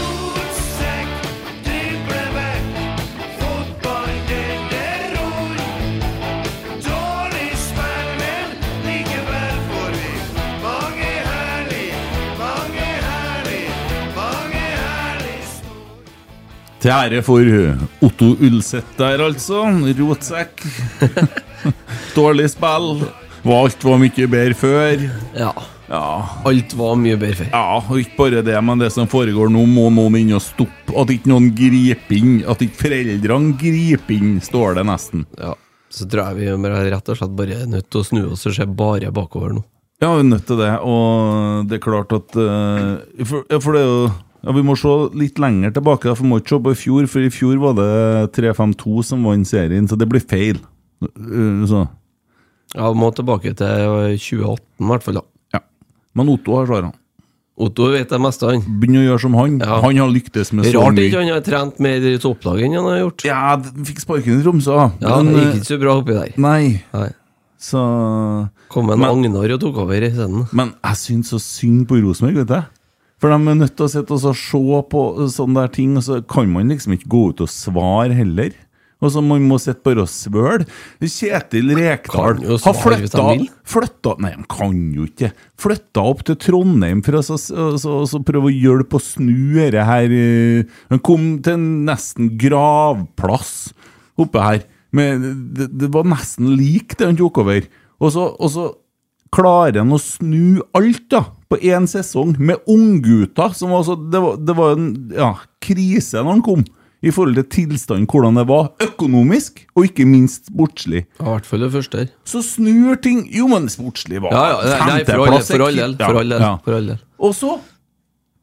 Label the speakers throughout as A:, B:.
A: Rotsekk, driblevekk, fotball, det er ror. Dårlig spill, men likevel får vi mange herlig, mange herlig, mange herlig snor.
B: Til ære for eh, Otto Ulseth der, altså. Rotsekk. Dårlig spill. Var Alt var mye bedre før.
C: Ja,
B: Ja.
C: alt var mye bedre før.
B: ja, og ikke bare det, men det som foregår nå, må noen inn og stoppe. At ikke noen griper inn. At ikke foreldrene griper inn, står det nesten.
C: Ja. Så tror jeg vi er rett og slett bare nødt til å snu oss og se bare bakover nå.
B: Ja, vi er nødt til det, og det er klart at eh, For, ja, for det er jo ja, Vi må se litt lenger tilbake, da, for vi må ikke se på i fjor, for i fjor var det 3-5-2 som vant serien, så det blir feil. Eh, Så
C: Ja, vi må tilbake til eh, 2018 i hvert fall, da.
B: Ja. Men Otto har svarene.
C: Otto vet det meste, han.
B: Begynn å gjøre som han.
C: Ja.
B: Han har lyktes med så
C: Rart ikke
B: mye.
C: han har trent mer i topplaget enn han har gjort.
B: Ja, de fikk sparken i Tromsø.
C: Ja,
B: men,
C: det gikk ikke så bra oppi der.
B: eh, Nei,
C: Nei.
B: så
C: Kom en
B: Men-
C: Agnar og tok over isteden.
B: Men jeg syns så synd på Rosenborg, vet jeg. For de er nødt til å sitte og så se på sånne der ting, og så kan man liksom ikke gå ut og svare heller. Og så Man må sitte bare og svøle. Kjetil Rekdal
C: Kan jo
B: har
C: svare hvis
B: flytta
C: han vil.
B: flytta, Nei, han kan jo ikke Flytta opp til Trondheim for å så, så, så- så prøve å hjelpe å snu dette her eh, Han kom til en nesten gravplass oppe her. Men det, det var nesten lik det han tok over. Og så, og så klarer han å snu alt da på én sesong, med unggutter som var så Det var, det var en ja, krise når han kom. I forhold til tilstanden, hvordan det var økonomisk, og ikke minst sportslig
C: I hvert fall det første. her.
B: så snur ting Jo, men sportslig var
C: Ja, ja, nei, nei, for all del. For all del.
B: Ja,
C: For all del.
B: ja.
C: For all del.
B: Og så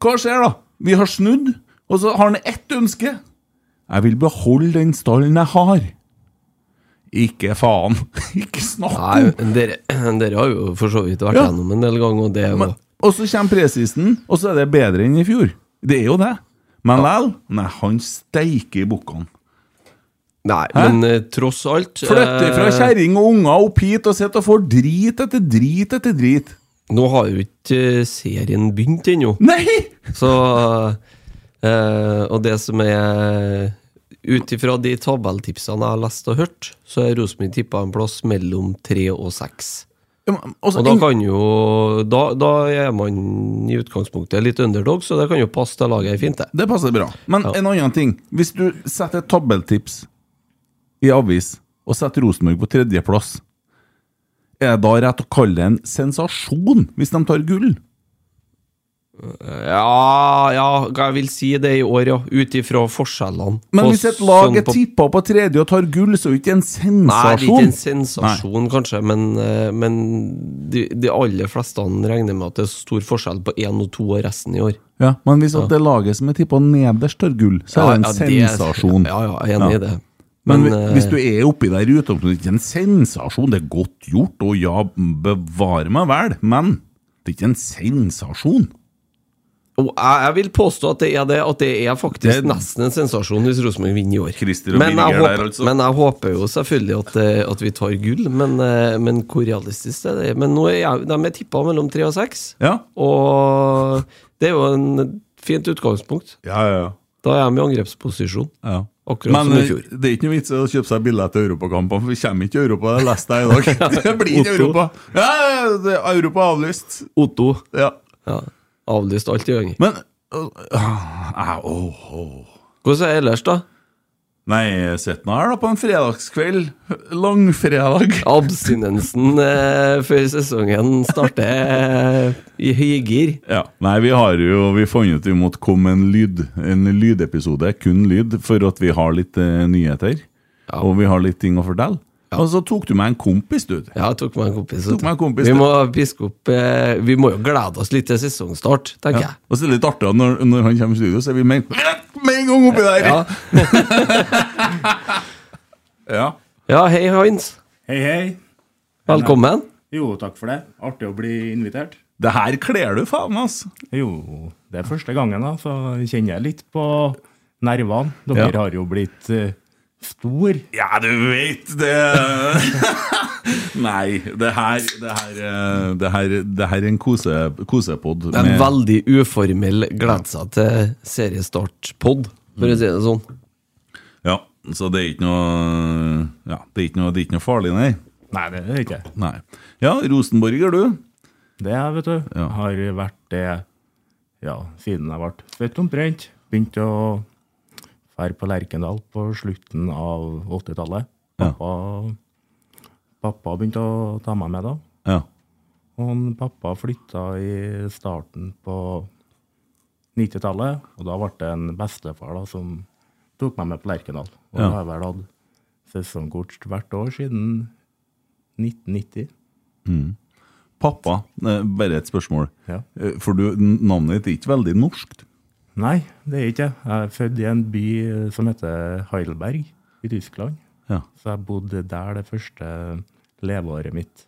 B: Hva skjer, da? Vi har snudd, og så har han ett ønske. Jeg vil beholde den stallen jeg har. Ikke faen. Ikke snakk
C: Nei,
B: om
C: men dere, dere har jo for så vidt vært
B: Ja.
C: gjennom en del ganger, og det er jo
B: Men, og så kommer presisen, og så er det bedre enn i fjor. Det er jo det. Men likevel Nei, han steiker i bukkene.
C: Nei,
B: Hæ?
C: men eh, tross alt
B: Flytter fra
C: eh,
B: kjerring og unger opp hit og sitter og får drit etter drit etter drit.
C: Nå har jo ikke eh, serien begynt ennå.
B: Nei!
C: Så eh, Og det som er Ut ifra de tabelltipsene jeg har lest og hørt, så er Rosenborg tippa en plass mellom tre og seks.
B: Ja, men- også
C: Og da
B: en-
C: kan jo da, da er man i utgangspunktet litt underdog, så det kan jo passe til laget fint, det.
B: Det passer bra. Men
C: Ja.
B: en annen ting. Hvis du setter et tabelltips i avis, og setter Rosenborg på tredjeplass, er det da rett å kalle det en sensasjon hvis de tar gull?
C: Ja, ja, jeg vil si det i år, ja. Ut ifra forskjellene.
B: Men
C: På
B: hvis et lag
C: sånn
B: er
C: på-
B: tippa på tredje og tar gull, så er det ikke en
C: Nei, det er ikke
B: sensasjon.
C: en sensasjon, kanskje, men, eh, men de, de aller fleste regner med at det er stor forskjell på én og to og resten i år.
B: Ja, men hvis at det laget som er tippa nederst, tar gull, så er det en sensasjon.
C: Ja, ja, jeg er enig
B: Ja.
C: i det.
B: Men,
C: eh,
B: hvis du er oppi der ute, det er ikke en sensasjon. Det er godt gjort, og ja, bevare meg vel, men det er ikke en sensasjon.
C: og jeg, jeg vil påstå at det er det, at det er faktisk
B: Det-
C: nesten en sensasjon hvis Rosenborg vinner i år.
B: Christer og
C: men, jeg
B: Birger der,
C: håper,
B: altså.
C: men jeg håper jo selvfølgelig at, eh, at vi tar gull, men, eh, men hvor realistisk er det? Men nå er jeg, de er tippa mellom tre og seks,
B: Ja.
C: og det er jo en fint utgangspunkt.
B: Ja, ja, ja.
C: Da er de i angrepsposisjon.
B: Ja.
C: Akkurat
B: Men
C: som i fjor.
B: eh, det er ikke noe vits i å kjøpe seg billett til Europakampene, for vi kommer ikke til Europa. Jeg leste det i dag. Det blir ikke
C: Otto.
B: Europa. Ja, ja, det er Europa er avlyst.
C: Otto.
B: Ja.
C: Ja. Avlyst alt i gang.
B: Men øh, øh, åh, åh.
C: Hvordan er det ellers, da?
B: Nei, jeg sitter nå her da på en fredagskveld. Langfredag.
C: Abstinensen eh, før sesongen starter eh, i høygir.
B: Ja. Nei, vi har jo vi fant ut vi måtte komme med en lyd En lydepisode, kun lyd, for at vi har litt eh, nyheter. Og vi har litt ting å fortelle. Og så tok du med en kompis, du.
C: Ja, jeg tok meg en kompis. vet
B: Tok
C: du.
B: meg en kompis,
C: vi,
B: du.
C: må piske opp, eh, vi må jo glede oss litt til sesongstart, tenker
B: Ja. Og så er det litt artig at når, når han kommer i studio, så er vi med med en gang oppi der!
C: Ja.
B: Ja.
C: jeg. Ja, hei, Heinz.
D: Hei, hei.
C: Velkommen.
D: Jo, takk for det. Artig å bli invitert.
B: Det her kler du faen, altså!
D: Jo, det er første gangen, da, så kjenner jeg litt på nervene. Dere
B: Ja.
D: har jo blitt eh, stor.
B: Ja, du vet det Nei, det her Det her, eh, det her, det her er en kose, kosepod.
C: Det er en
B: med-
C: veldig uformell glede seg til seriestart-pod, for å si det sånn.
B: Ja, så det er ikke noe Ja, det er ikke noe, det er ikke noe farlig, nei.
D: Nei, det er det ikke.
B: nei. Ja, Rosenborger, du.
D: Det er, vet du.
B: Ja.
D: Har vært det ja, siden jeg ble født omtrent. Begynte å fære på Lerkendal på slutten av 80-tallet.
B: Ja.
D: Pappa, pappa begynte å ta meg med da.
B: Ja.
D: Og han pappa flytta i starten på 90-tallet, og da ble det en bestefar da, som tok meg med på Lerkendal. Og
B: Ja.
D: da har jeg vel hatt sesongkort hvert år siden 1990.
B: Pappa, eh, bare et spørsmål.
D: Ja.
B: Eh, For du, n- navnet ditt er ikke veldig norskt?
D: Nei, det er ikke jeg. Jeg er født i en by eh, som heter Heidelberg i Tyskland.
B: Ja.
D: Så jeg bodde der det første leveåret mitt.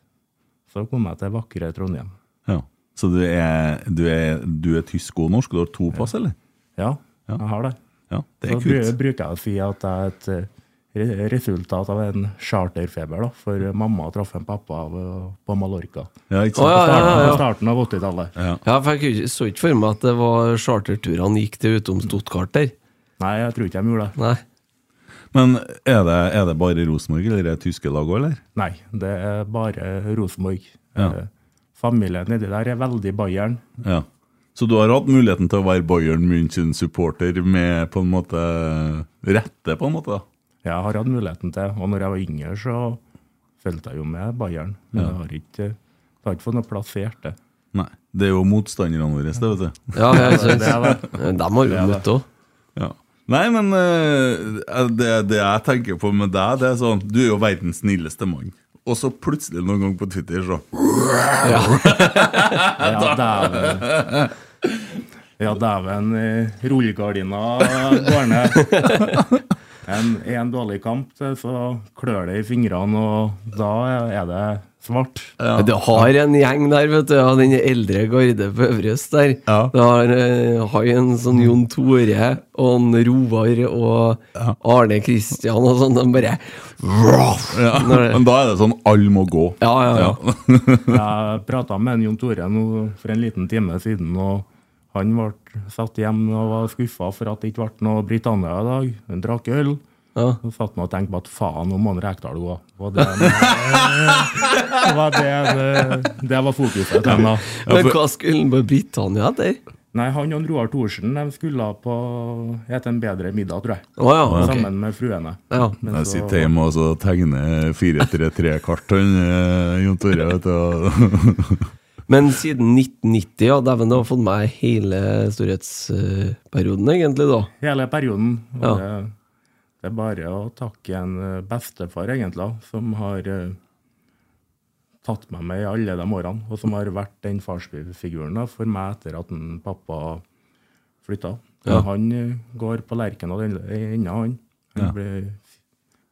D: Så kom jeg til vakre Trondheim.
B: ja. Så du er, du, er, du er tysk og norsk? Du har to pass, eller?
D: Ja,
B: Ja.
D: jeg har det.
B: Ja, det
D: Så
B: er
D: bru-
B: kult.
D: bruker jeg å si at det er et eh, re- resultat av en charterfeber, da, for mamma traff en pappa av- på Mallorca.
B: Ja, ikke
C: Å, ja,
B: sant?
C: ja, ja,
D: På
C: ja.
D: starten av 80-tallet.
C: ja for jeg kunne ikke- så ikke for meg at det var charterturene gikk til utom Stuttgart der.
D: Nei, jeg tror ikke de gjorde det.
C: Nei.
B: Men er det, er det bare Rosenborg, eller er det tyske lag òg, eller?
D: Nei, det er bare Rosenborg.
B: Ja.
D: Eh, Familien nedi der er veldig Bayern.
B: Ja. Så du har hatt muligheten til å være Bayern München-supporter med på en måte rette, på en måte? da?
D: Jeg har hatt muligheten til, og når jeg var yngre, så fulgte jeg jo med Bayern. Men jeg har ikke, jeg har ikke fått noe plass i hjertet.
B: Nei. Det er jo motstanderne våre, det, vet du.
C: Ja, ja,
D: Det er det.
C: De har jo møtt òg.
B: Ja. Nei, men eh, det, det jeg tenker på med deg, det er sånn Du er jo verdens snilleste mann. Og så plutselig noen gang på Twitter, så
D: Ja, dæven. Ja, dæven. eh, Rullegardina går ned. En, en dårlig kamp, så klør det i fingrene, og da er det svart.
C: Det har en gjeng der, vet du. Ja, den eldre garde på Øvrest der.
B: Ja.
C: Det har, eh, har jo en sånn Jon Tore og en Roar og Arne Kristian og sånn. De bare
B: ja.
C: Når det-
B: Men da er det sånn alle må gå.
C: Ja, ja, ja.
D: Jeg prata med en Jon Tore nå for en liten time siden, og han ble satt hjem og var skuffa for at det ikke ble noe Britannia i dag. Han drakk øl.
C: Ja.
D: Så satt han og tenkte på at faen, nå må han Rekdal gå. Og det, det, var det, det var fokuset til han da.
C: Men hva skulle han på Britannia etter?
D: Nei, han og Roar Thorsen de skulle på et en bedre middag, tror jeg.
C: Å ja, Ah, ok.
D: Sammen med fruene.
C: ja.
D: Men
B: Jeg
D: så-
B: sitter hjemme og så eh, tegner 4-3-3-kartene, Jon Tore. vet du, og-
C: Men siden 1990, ja, dæven, det har fått meg hele storhetsperioden, egentlig, da.
D: Hele perioden. Og
C: Ja.
D: det, det er bare å takke en eh, bestefar, egentlig, da, som har eh, tatt meg med i alle de årene, og som har vært den farsfiguren da, for meg etter at en pappa flytta. Men
C: Ja.
D: Han eh, går på Lerkena den- ennå, han. Han blir,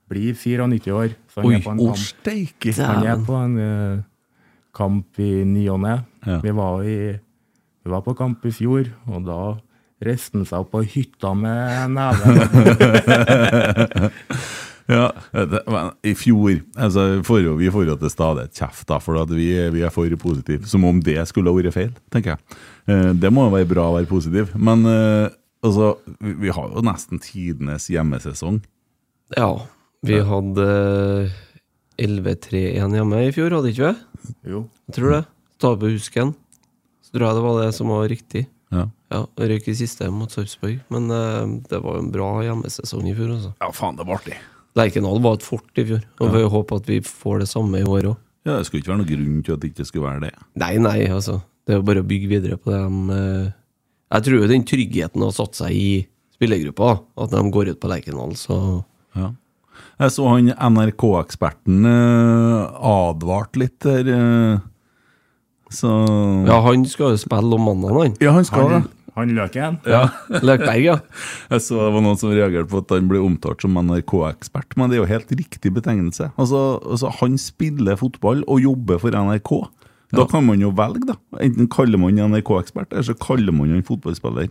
D: blir 94 år. Så han
B: Oi,
D: er på en
B: å
D: kamp.
B: steike!
D: Han er på en eh, kamp i ny og ne.
B: Ja.
D: Vi, var i, vi var på kamp i fjor, og da reiste han seg opp på hytta med neven.
B: Ja, det, men I fjor altså, får jo, Vi får jo til stadighet kjeft, da, for at vi, vi er for positive. Som om det skulle ha vært feil, tenker jeg. Eh, det må jo være bra å være positiv. Men eh, altså, vi, vi har jo nesten tidenes hjemmesesong.
C: Ja. Vi hadde eh, 11-3-1 hjemme i fjor, hadde ikke vi?
D: jo,
C: Jeg tror det. Tape husken. Så tror jeg det var det som var riktig.
B: Ja.
C: Ja, Røyk i siste mot Sarpsborg, men eh, det var jo en bra hjemmesesong i fjor. altså.
B: ja, faen, det var artig.
C: Lerkendal var et fort i fjor, og vi håper at vi får det samme i år òg.
B: Ja, Det skulle ikke være noen grunn til at det ikke skulle være det.
C: Nei, nei, altså. Det er jo bare å bygge videre på det de eh, Jeg tror jo den tryggheten har satt seg i spillergruppa, at de går ut på Lerkendal, så
B: Ja. Jeg så han NRK-eksperten eh, advart litt der. eh, så
C: Ja, han skal jo spille om mandag, han.
B: Ja, han skal det.
D: han, han løk igjen.
C: Løkberg, ja.
B: Jeg så det var noen som reagerte på at han ble omtalt som NRK-ekspert, men det er jo helt riktig betegnelse. Altså, altså Han spiller fotball og jobber for NRK. Da kan man jo velge, da. Enten kaller man han NRK-ekspert, eller så kaller man han fotballspiller.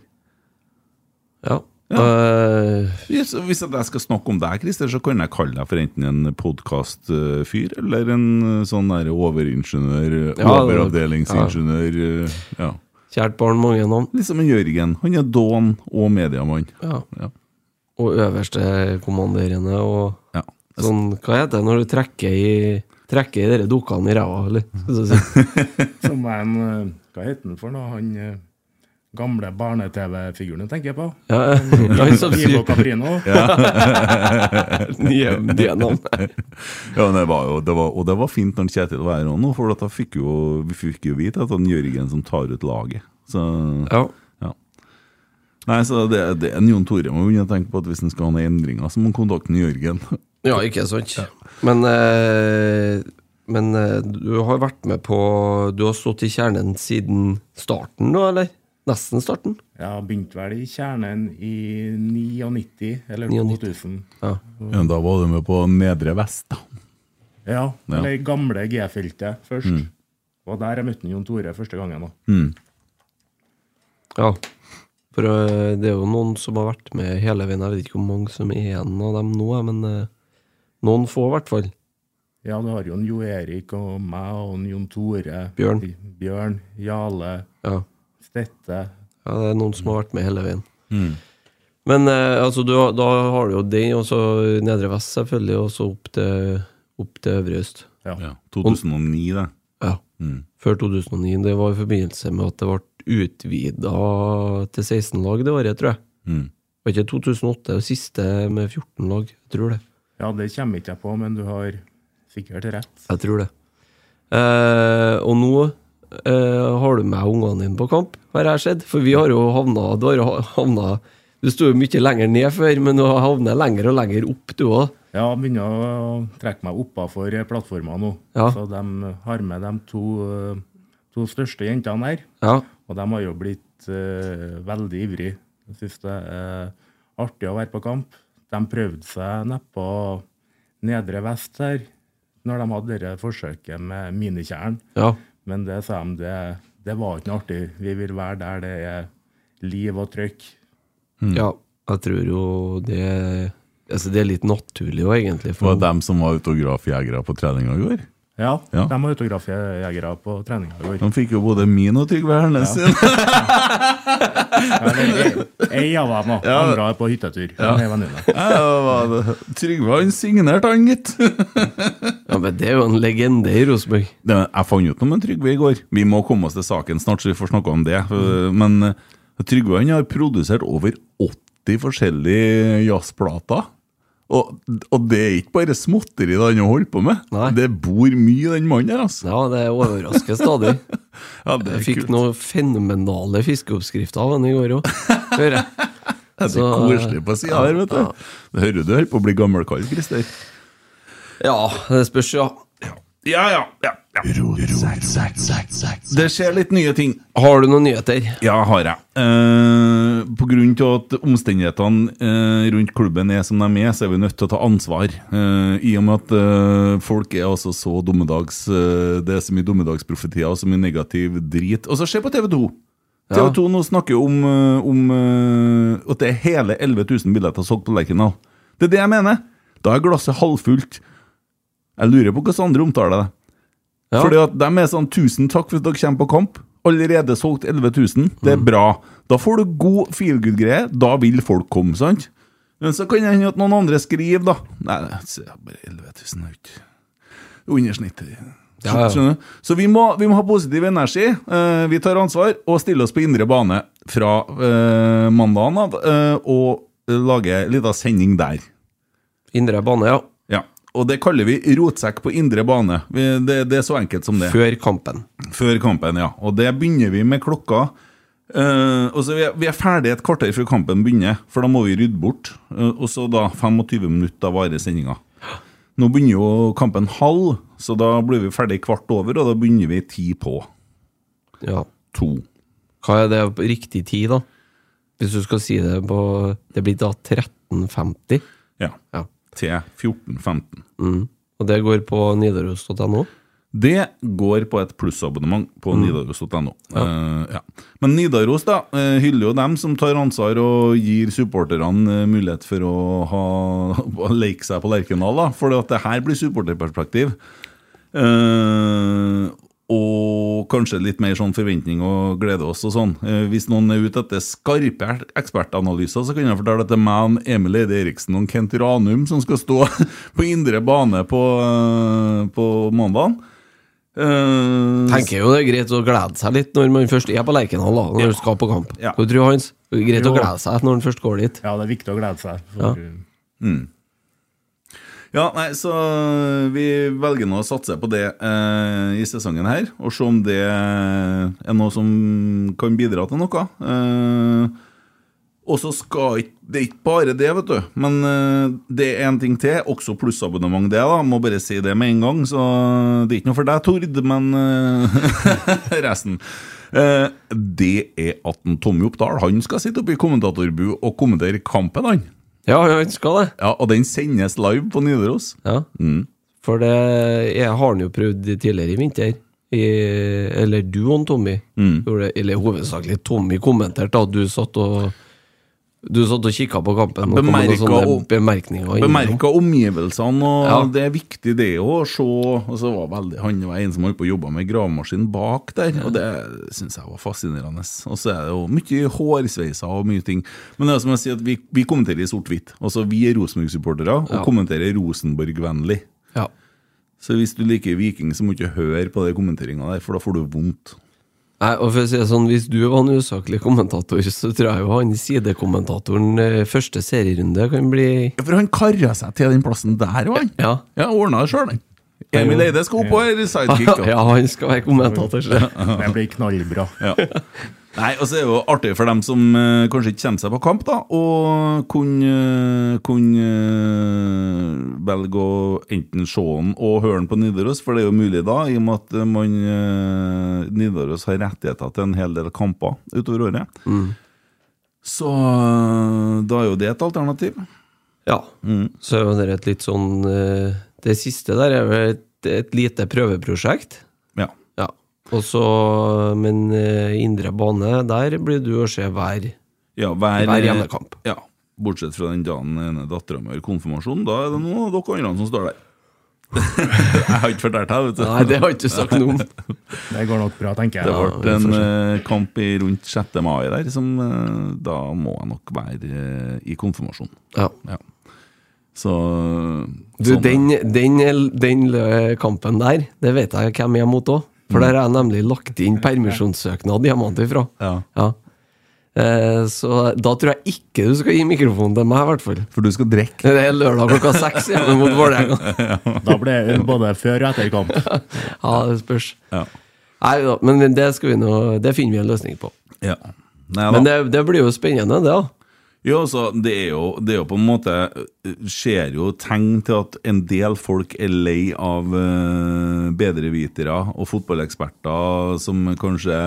C: ja. Eh,
B: Yes, og hvis at jeg skal snakke om deg, Christer, så kan jeg kalle deg for enten en podkastfyr eller en eh, sånn der overingeniør, eh,
C: Ja,
B: overavdelingsingeniør eh, ja.
C: kjært barn, mange navn.
B: Litt som en Jørgen. Han er Don og mediemann.
C: Ja.
B: Ja.
C: Og øverste kommanderende og
B: Ja.
C: sånn Hva heter det når du trekker i Trekker i dere dukkene i ræva, eller? Så å si.
D: Som en eh, Hva heter han for noe? Han eh, gamle barne-TV-figuren jeg tenker jeg på.
C: Ja, han som
D: Ivo
C: sier
D: Caprino.
C: nye DNA-en.
B: Ja, men det var jo, det var, og det var fint når Kjetil var her òg nå, for at da fikk jo, vi fikk jo vite at han Jørgen som tar ut laget. Så,
C: Ja.
B: ja. Nei, så det, det er en Jon Tore må begynne å tenke på at hvis han skal ha noen endringer, så må han kontakte en Jørgen.
C: ja, ikke sant? Men, eh, men eh, du har vært med på Du har stått i kjernen siden starten nå, eller? Nesten starten?
D: Jeg begynte vel i kjernen i 99, eller
C: 99.
D: 2000.
C: Ja.
B: Ja, da var du med på Nedre Vest, da.
D: Ja, eller gamle G-feltet først. Og der jeg møtte Jon Tore første gangen. da.
C: ja. For eh, det er jo noen som har vært med hele veien. Jeg vet ikke hvor mange som er igjen av dem nå, eh, men eh, noen få, i hvert fall.
D: Ja, du har jo en Jo Erik og meg og en Jon Tore.
C: Bjørn.
D: Bjørn, Jale,
C: Ja.
D: Stette.
C: Ja, det er noen som har vært med hele veien. Men eh, altså, du, har- da har du jo den, og så Nedre Vest selvfølgelig, og så opp til, opp til Øvre Øst.
D: Ja.
B: Ja, 2009, det.
C: Ja.
B: Mm.
C: Før 2009. Det var i forbindelse med at det ble utvida til 16 lag det året, tror jeg.
B: Mm.
C: Var ikke 2008 det siste med 14 lag? Jeg tror det.
D: ja, det kommer ikke jeg på, men du har sikkert rett.
C: Jeg tror det. Eh, og nå eh, har du med ungene dine på kamp, har jeg sett. For vi har jo havna Du har jo ha- havna Du sto jo mye lenger ned før, men du har havna lenger og lenger opp, du òg.
D: Ja, jeg begynner å trekke meg oppafor plattforma nå.
C: Ja.
D: Så de har med de to, eh, to største jentene her.
C: Ja.
D: Og de har jo blitt eh, veldig ivrige. Jeg synes det er artig å være på kamp. De prøvde seg nedpå Nedre Vest her, når de hadde det forsøket med minikjern.
C: ja.
D: Men det sa de, det, det var ikke noe artig. Vi vil være der det er liv og trøkk.
C: Ja. Jeg tror jo det Altså, det er litt naturlig òg, egentlig.
B: Det var dem som var autografjegere på treninga i går.
D: Ja,
B: Ja.
D: de har autografjegere på treninga i går.
B: De fikk jo både min og Trygve Hernes sin.
D: Ja, det er Ei av dem, da. Andre er på hyttetur. De er venninner.
B: Ja, det var det. Trygve han signerte, han, gitt.
C: Ja, men det er jo en legende i Rosenborg.
B: Det, jeg fant ut noe med Trygve i går. Vi må komme oss til saken snart, så vi får snakke om det. Eh, Men eh, Trygve han har produsert over 80 forskjellige jazzplater. Og, og det er ikke bare småtteri det han holder på med.
C: Nei.
B: Det bor mye i den mannen her, altså.
C: Ja, det overrasker stadig.
B: Ja, det er
C: Jeg fikk
B: kult.
C: noen fenomenale fiskeoppskrifter av henne i går òg, hører jeg.
B: Det er så koselig på sida her, vet du. Det hører du holder på å bli gammelkall, Christer.
C: Ja, det spørs, ja.
B: Ja, ja, ja. ja. Det skjer litt nye ting.
C: Har du noen nyheter?
B: Ja, har jeg. Eh, på grunn til at omstendighetene eh, rundt klubben er som de er, så er vi nødt til å ta ansvar. Eh, I og med at eh, folk er altså så dommedags eh, Det er så mye dommedagsprofetier og så mye negativ drit. Og så se på TV 2! TV 2 nå snakker jo om, eh, om eh, at det er hele 11 000 billetter solgt på Lerkendal. Det er det jeg mener! Da er glasset halvfullt. Jeg lurer på hvordan andre omtaler det.
C: Ja.
B: Fordi at de er sånn 'Tusen takk for at dere kommer på kamp'. Allerede solgt 11 000. Det
C: Mm.
B: er bra. Da får du god feelgood-greie. Da vil folk komme, sant? Men så kan det hende at noen andre skriver, da. Nei, det er bare 11 000 er jo ikke Under snittet.
C: Ja, ja.
B: Skjønner du? Så vi må, vi må ha positiv energi. Eh, vi tar ansvar og stiller oss på indre bane fra eh, mandagen av eh, og lager en liten sending der.
C: Indre bane, ja.
B: Ja. Og det kaller vi rotsekk på indre bane. Vi, det, det er så enkelt som det.
C: Før kampen.
B: Før kampen, ja. Og det begynner vi med klokka. Eh, og så vi er, vi er ferdig et kvarter før kampen begynner, for da må vi rydde bort. Eh, og så da 25 minutter varer sendinga. Nå begynner jo kampen halv, så da blir vi ferdig kvart over, og da begynner vi ti på
C: Ja.
B: to.
C: Hva er det på riktig tid, da? Hvis du skal si det på Det blir da 13.50.
B: Ja.
C: Ja.
B: Til 14.15.
C: Mm. Og det går på nidaros.no.
B: Det går på et plussabonnement på nidaros.no. Eh, ja. Men Nidaros da, eh, hyller jo dem som tar ansvar og gir supporterne eh, mulighet for å, ha, å leke seg på Lerkendal, da, for at det her blir supporterperspektiv. Eh, og kanskje litt mer sånn forventning og glede oss og sånn. Eh, hvis noen er ute etter skarpe er- ekspertanalyser, så kan jeg fortelle at det er meg, og Emil Eide Eriksen og Kent Ranum som skal stå på indre bane på, eh, på mandagen. Eh,
C: Tenker jo det er greit å glede seg litt når man først er på Lerkendal, da. Når du skal på kamp.
B: Ja.
C: Hva tror du, Hans? Det er Greit å
D: Jo.
C: glede seg når man først går dit.
D: Ja, det er viktig å glede seg. For,
B: Ja, nei, så vi velger nå å satse på det eh, i sesongen her, og se om det eh, er noe som kan bidra til noe. Eh, og så skal ikke Det er ikke bare det, vet du. Men eh, det er en ting til, også plussabonnement, det, da. Må bare si det med en gang, så det er ikke noe for deg, Tord, men eh, resten. Eh, det er at en Tommy Oppdal han skal sitte oppe i kommentatorbu og kommentere kampen, han.
C: Ja, ja, han skal det.
B: Ja, Og den sendes live på Nidaros.
C: Ja. For det jeg har han jo prøvd tidligere i vinter. I, eller du og Tommy. Gjorde, eller hovedsakelig Tommy kommenterte at du satt og Du satt og kikka på kampen. og kom med noen
B: Bemerka
C: sånne
B: og-
C: bemerkninger innom.
B: Bemerka omgivelsene, og
C: Ja.
B: det er viktig det òg, å se og så var veldig, Han var en som holdt på å jobbe med gravemaskin bak der, og det syns jeg var fascinerende. Og så er det jo mye hårsveiser og mye ting. Men det er som jeg sier, at vi, vi kommenterer i sort-hvitt. Altså, vi er Rosenborg-supportere, og
C: Ja.
B: kommenterer Rosenborg-vennlig.
C: Ja.
B: Så hvis du liker Viking, så må du ikke høre på den kommenteringa der, for da får du vondt.
C: Nei, og for å si det sånn, Hvis du var en usaklig kommentator, så tror jeg jo han sidekommentatoren eh, første serierunde kan bli
B: Ja, For han kara seg til den plassen der, jo, han.
C: Ja.
B: Ja, ordna det sjøl, han. Emil Eide skal opp og være sidekick. da.
C: ja, han skal være kommentator. Så.
D: det blir knallbra.
B: Nei, og så er det jo artig for dem som eh, kanskje ikke kommer seg på kamp, da, og kunne eh, kunne, eh, velge å enten se den og høre den på Nidaros, for det er jo mulig da, i og med at eh, man eh, Nidaros har rettigheter til en hel del kamper utover året. Så eh, da er jo det et alternativ.
C: Ja. Mm. Så er jo det et litt sånn eh, Det siste der er jo et, et lite prøveprosjekt.
B: Ja.
C: Ja. Og så, men eh, indre bane, der blir du å se hver
B: Ja, hver, eh,
C: Hver hjemmekamp.
B: Ja, bortsett fra den dagen ene dattera mi har konfirmasjon. Da er det noen av dere andre som står der. Jeg har ikke fortalt deg, vet du.
C: Nei, det har ikke du sagt noe om.
D: Det går nok bra, tenker jeg.
B: Det
C: vi
B: ble
C: får
B: en
C: se.
B: eh, kamp i rundt 6. mai der, som eh, da må jeg nok være eh, i konfirmasjon.
C: Ja.
B: Ja. Så
C: Du,
B: sånn-
C: den, den, den lø- kampen der, det vet jeg hvem jeg er mot òg. For der har jeg nemlig lagt inn permisjonssøknad hjemmefra.
B: Ja.
C: Ja. Eh, så da tror jeg ikke du skal gi mikrofonen til meg, i hvert fall.
B: For du skal drikke?
C: Det er lørdag klokka seks hjemme mot Vålerenga.
D: Da blir det både før og etter kamp.
C: Ja, det spørs.
B: Ja.
C: Nei da, men det, skal vi nå, det finner vi en løsning på.
B: Ja. Nei,
C: Men
B: da.
C: det, det blir jo spennende, det. da
B: Jo, altså, det er jo, det er jo på en måte Ser jo tegn til at en del folk er lei av eh, bedrevitere og fotballeksperter som kanskje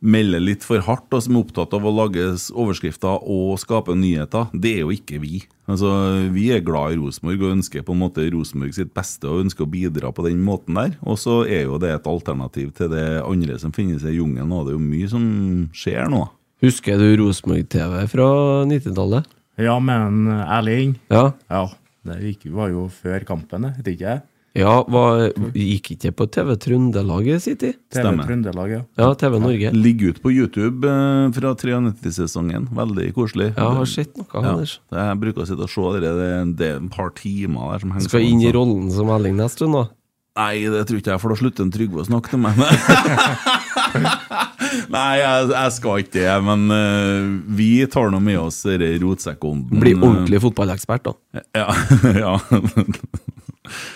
B: melder litt for hardt, og som er opptatt av å lage s- overskrifter og skape nyheter. Det er jo ikke vi. Altså, Vi er glad i Rosenborg og ønsker på en måte Rosenborg sitt beste og ønsker å bidra på den måten der. Og så er jo det et alternativ til det andre som finnes i jungelen, og det er jo mye som skjer nå. da.
C: Husker du Rosenborg-TV fra 90-tallet?
D: Ja, men Erling
C: Ja.
D: Ja, det gikk, var jo før kampen, det, vet ikke jeg.
C: ja var, gikk ikke på TV Trøndelag i sin tid?
D: TV
B: Stemmer.
D: Trøndelag, ja.
C: Ja, TV Norge.
B: Ligger ut på YouTube eh, fra 93-sesongen. Veldig koselig.
C: Ja, har sett noe,
B: Ja,
C: Anders.
B: det- Jeg bruker å sitte og se det. Det er- det er et par timer der som henger
C: Skal
B: sammen,
C: inn i
B: så-
C: rollen som Elling neste stund, da.
B: Nei, det tror ikke jeg, for da slutter en Trygve å snakke til meg. Nei, jeg, jeg skal ikke det, men eh, vi tar nå med oss denne rotsekkånden.
C: Bli
B: eh,
C: ordentlig fotballekspert, da.
B: Ja. ja.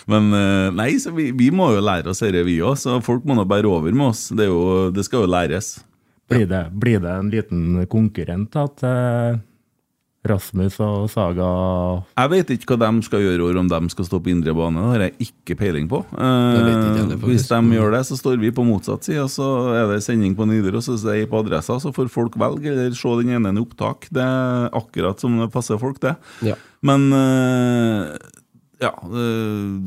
B: Men eh, nei, så vi, vi må jo lære oss dette, vi òg. Så folk må nå bære over med oss. Det, er jo, det skal jo læres.
D: Blir det, blir det en liten konkurrent da, til Rasmus og Saga?
B: Jeg vet ikke hva de skal gjøre, og om de skal stå på indre bane. Det har jeg ikke peiling på. Eh,
C: vet ikke heller, faktisk.
B: hvis de gjør det, så står vi på motsatt side, og så er det sending på Nidaros, og så er jeg på adressa, så får folk velge eller se den ene i opptak. Det er akkurat som det passer folk, det.
C: Ja.
B: Men eh, ja eh,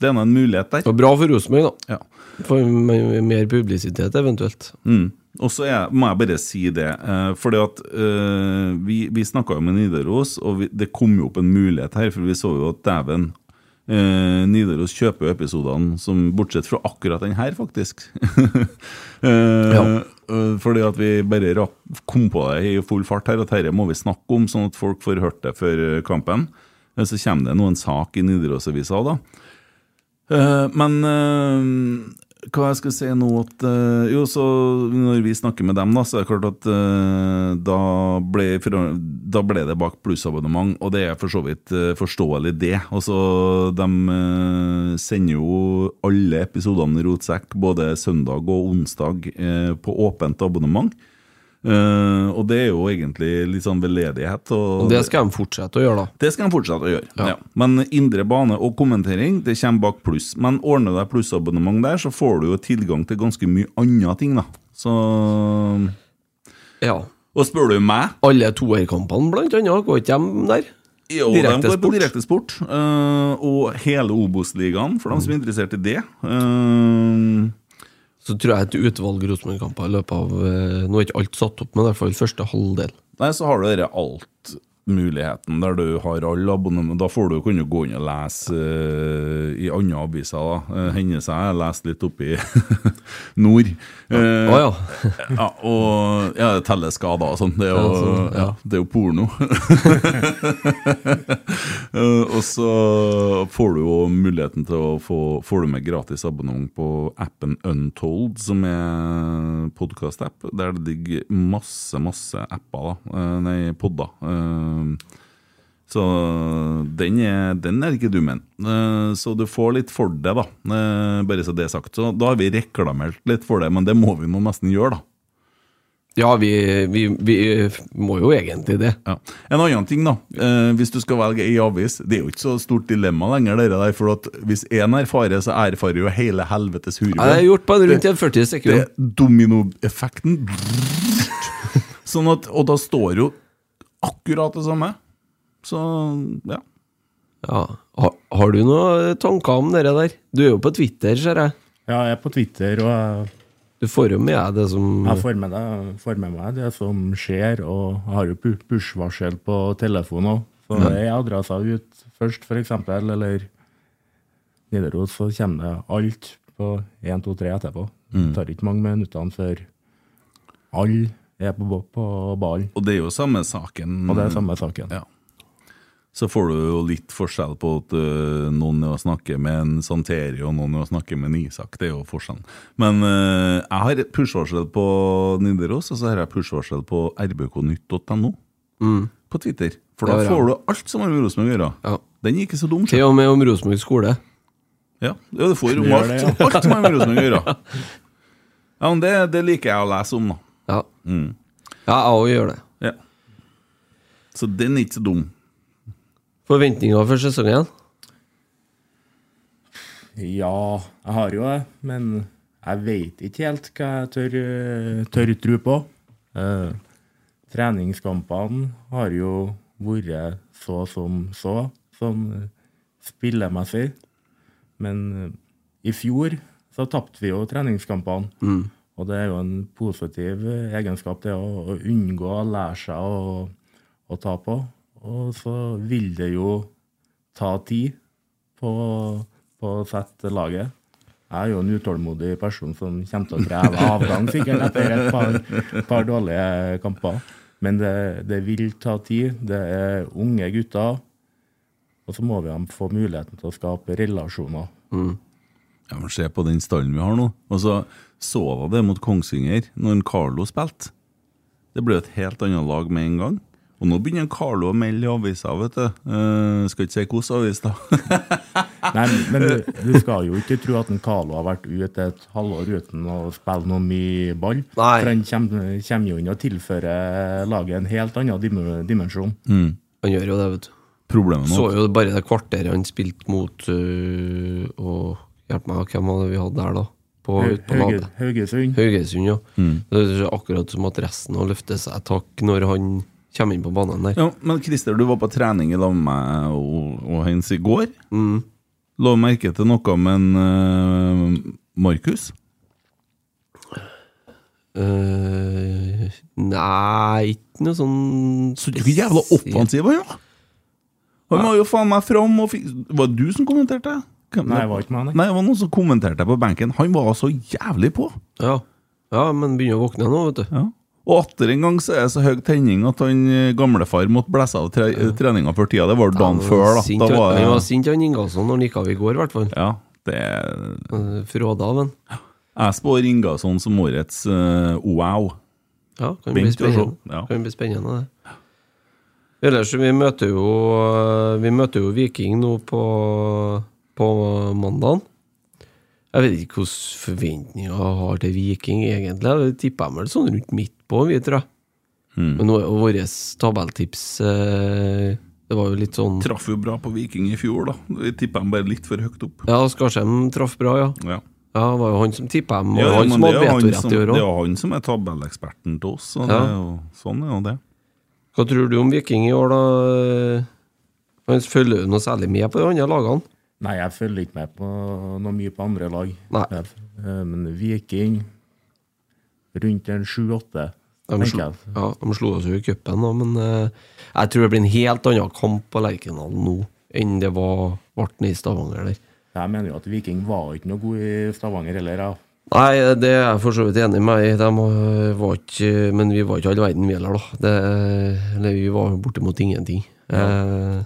B: Det er nå en mulighet der.
C: Det var bra for Rosenborg, da.
B: Ja.
C: Får m- mer publisitet, eventuelt.
B: Mm. Og så er- må jeg bare si det, eh, fordi at eh, vi, vi snakka jo med Nidaros, og vi, det kom jo opp en mulighet her, for vi så jo at dæven eh, Nidaros kjøper jo episodene som bortsett fra akkurat den her, faktisk. eh,
C: Ja.
B: eh, Fordi at vi bare rakk, kom på det i full fart her, at dette må vi snakke om, sånn at folk får hørt det før kampen. Eh, Så kommer det nå en sak i Nidarosavisa, da. Eh, men eh, hva jeg skal si nå at eh, Jo, så når vi snakker med dem, da, så er det klart at eh, da, ble, for- da ble det bak plussabonnement, og det er for så vidt eh, forståelig, det. Altså, de eh, sender jo alle episodene i Rotsekk, både søndag og onsdag, eh, på åpent abonnement. Eh, og det er jo egentlig litt sånn veldedighet. Og,
C: Og det skal de fortsette å gjøre, da.
B: det skal de fortsette å gjøre.
C: Ja.
B: Ja. Men indre bane og kommentering det kommer bak pluss. Men ordner du deg plussabonnement der, så får du jo tilgang til ganske mye andre ting. da. Så...
C: Ja.
B: Og spør du meg
C: Alle toerkampene, blant annet, går ikke de der?
B: jo, de
C: Direkte
B: går på
C: sport.
B: direkte sport. eh, og hele Obos-ligaen, for dem som er interessert i det. Eh,
C: Så tror jeg et utvalg Rosenborg-kamper i løpet av eh, Nå er ikke alt satt opp, men i hvert fall første halvdel.
B: Nei, så har du dere alt-muligheten, der du har alle abonnement. Da får du kunne gå inn og lese eh, i andre aviser. da. Eh, Hende seg jeg leste litt oppi nord.
C: Å
B: Eh,
C: ja.
B: ja, og ja, det teller skader og sånn. Det, er jo-
C: Ja, sånn, ja.
B: ja, det er jo porno. Eh, og så får du jo muligheten til å få får du med gratis abonnement på appen Untold, som er podkast-app. Der det ligger masse, masse apper, da. Eh, Nei, podder. Eh, så den er, den er ikke dum en. Eh, Så du får litt for det, da. Eh, Bare så det er sagt. Så da har vi reklamert litt for det, men det må vi nå nesten gjøre, da.
C: Ja, vi, vi, vi må jo egentlig det.
B: Ja. En annen ting, da. Eh, hvis du skal velge ei avis Det er jo ikke så stort dilemma lenger, dere der. For at hvis én erfarer, så erfarer jo hele helvetes hurve.
C: Jeg har gjort på en rundt i 40
B: Det
C: sekunder.
B: er dominoeffekten. Sånn at, og da står jo akkurat det samme. Så ja.
C: Ja. Har, har du noen tanker om det der? Du er jo på Twitter, ser jeg.
D: Ja, jeg er på Twitter, og jeg,
C: Du får jo med deg det som
D: jeg får, med det, får med meg det som skjer, og jeg har jo pu- push-varsel på telefonen òg. Så det er adresser ut først, f.eks., eller Nidaros, så kommer det alt på 1, 2, 3 etterpå. Det tar ikke mange minuttene før alle er på, bo- på ballen,
B: Og det er jo samme saken.
D: og det er samme saken.
B: Ja. Så får du jo litt forskjell på at øh, noen er å snakke med en Santeri og noen er å snakke med en Isak. Det er jo forskjellen. Men øh, jeg har et push-varsel på Nidaros, og så har jeg push-varsel på rbknytt.no på Twitter. For
C: Det
B: da
C: har jeg.
B: får du alt som har med Rosenborg å gjøre.
C: Ja.
B: Den er ikke så dum. sjø.
C: Til og med om Rosenborg skole.
B: Ja, ja du får
D: Du
B: om
D: gjør
B: alt.
D: det,
B: Alt som har med Rosenborg å gjøre. Ja, men det, det liker jeg å lese om, da.
C: Ja, ja jeg òg gjør det.
B: Ja. Så den er ikke så dum.
C: Forventninger for sesongen?
D: Ja, jeg har jo det, men jeg veit ikke helt hva jeg tør, tør tro på. Eh, treningskampene har jo vært så som så, sånn eh, spillemessig. Men eh, i fjor så tapte vi jo treningskampene. Og det er jo en positiv eh, egenskap, det å, å unngå å lære seg å, å ta på. Og så vil det jo ta tid på, på å sette laget. Jeg er jo en utålmodig person som kommer til å kreve avgang sikkert etter et par, par dårlige kamper. Men det, det vil ta tid. Det er unge gutter. Og så må vi dem få muligheten til å skape relasjoner.
B: Ja, men Se på den stallen vi har nå. Og så så jeg det mot Kongsvinger, når en Carlo spilte. Det ble et helt annet lag med en gang. Og nå begynner en Carlo å melde i avisa, vet du. Eh, skal ikke si hvilken avis, da.
D: Nei, men du, du skal jo ikke tro at en Carlo har vært ute et halvår uten å spille noe mye ball.
C: Nei.
D: For han kommer, kommer jo inn og tilfører laget en helt annen dim- dimensjon.
C: Han gjør jo det, vet du.
B: Mm. Problemet
C: Så
B: nå
C: jo bare det kvarteret han spilte mot øh, Og hjelp meg, hvem var det vi hadde der, da? På, ut på
D: Hauge-
C: Nabe.
D: Haugesund.
C: Haugesund, ja.
B: Mm.
C: Det er akkurat som at resten har løftet seg et hakk når han kommer inn på banen der.
B: ja, Men Christer, du var på trening i lag med meg og, og Heinz i går. Mm. La merke til noe med en eh, Markus.
C: Eh, nei, ikke noe sånn
B: Så du er jævla offensiv, han, ja! Han var jo faen meg fram og fikk Var det du som kommenterte? Hvem
D: Nei, det var ikke meg, nei.
B: Nei, det var noen som kommenterte på benken. Han var så jævlig på!
C: Ja. ja, men begynner å våkne nå, vet du.
B: Ja. Og atter en gang så er det så høy tenning at han eh, gamlefar måtte blæse av tre treninga før tida. Det var jo dagen før, da.
C: Sint,
B: da var,
C: Han var
B: det-
C: sint, han Ingasson, når han gikk av i går, i hvert fall.
B: ja, det er-
C: Eh, Fråda av han.
B: Jeg spår Ingasson som årets eh, wow.
C: Ja, kan bli
B: Vent og se.
C: spennende.
B: Ja.
C: Kan bli spennende det. Ellers, vi møter jo eh, Vi møter jo Viking nå på, på mandagen. Jeg vet ikke hvilke forventninger jeg har til Viking, egentlig. Det tipper jeg vel sånn rundt midt på, vi, tror jeg.
B: Mm.
C: Men nå er jo våre tabelltips eh, Det var jo litt sånn
B: Traff jo bra på Viking i fjor, da. Jeg tipper han bare litt for høyt opp.
C: Ja, Skarsheim traff bra, ja.
B: Ja.
C: Ja, Det var jo han som tippa dem, og
B: Ja,
C: han
B: men
C: som
B: det
C: hadde
B: er jo han
C: vetorett
B: som-
C: i år
B: Det er
C: òg.
B: jo han som er tabelleksperten til oss, og det
C: Ja.
B: er jo, sånn er jo det.
C: Hva tror du om Viking i år, da? Han følger jo noe særlig med på de andre lagene.
D: Nei, jeg følger ikke med på noe mye på andre lag.
C: Nei.
D: Jeg- eh, Men Viking rundt en sju-åtte,
C: De
D: tenker
C: slo,
D: jeg.
C: ja, de slo oss jo i cupen, da, men eh, jeg tror det blir en helt annen kamp på Lerkendal nå enn det var ble nede i Stavanger der.
D: Jeg mener jo at Viking var ikke noe god i Stavanger heller. Ja.
C: Nei, det er jeg for så vidt enig med. i. De eh, var ikke, men vi var ikke all verden, vi heller, da. Det, eller vi var bortimot ingenting. Eh,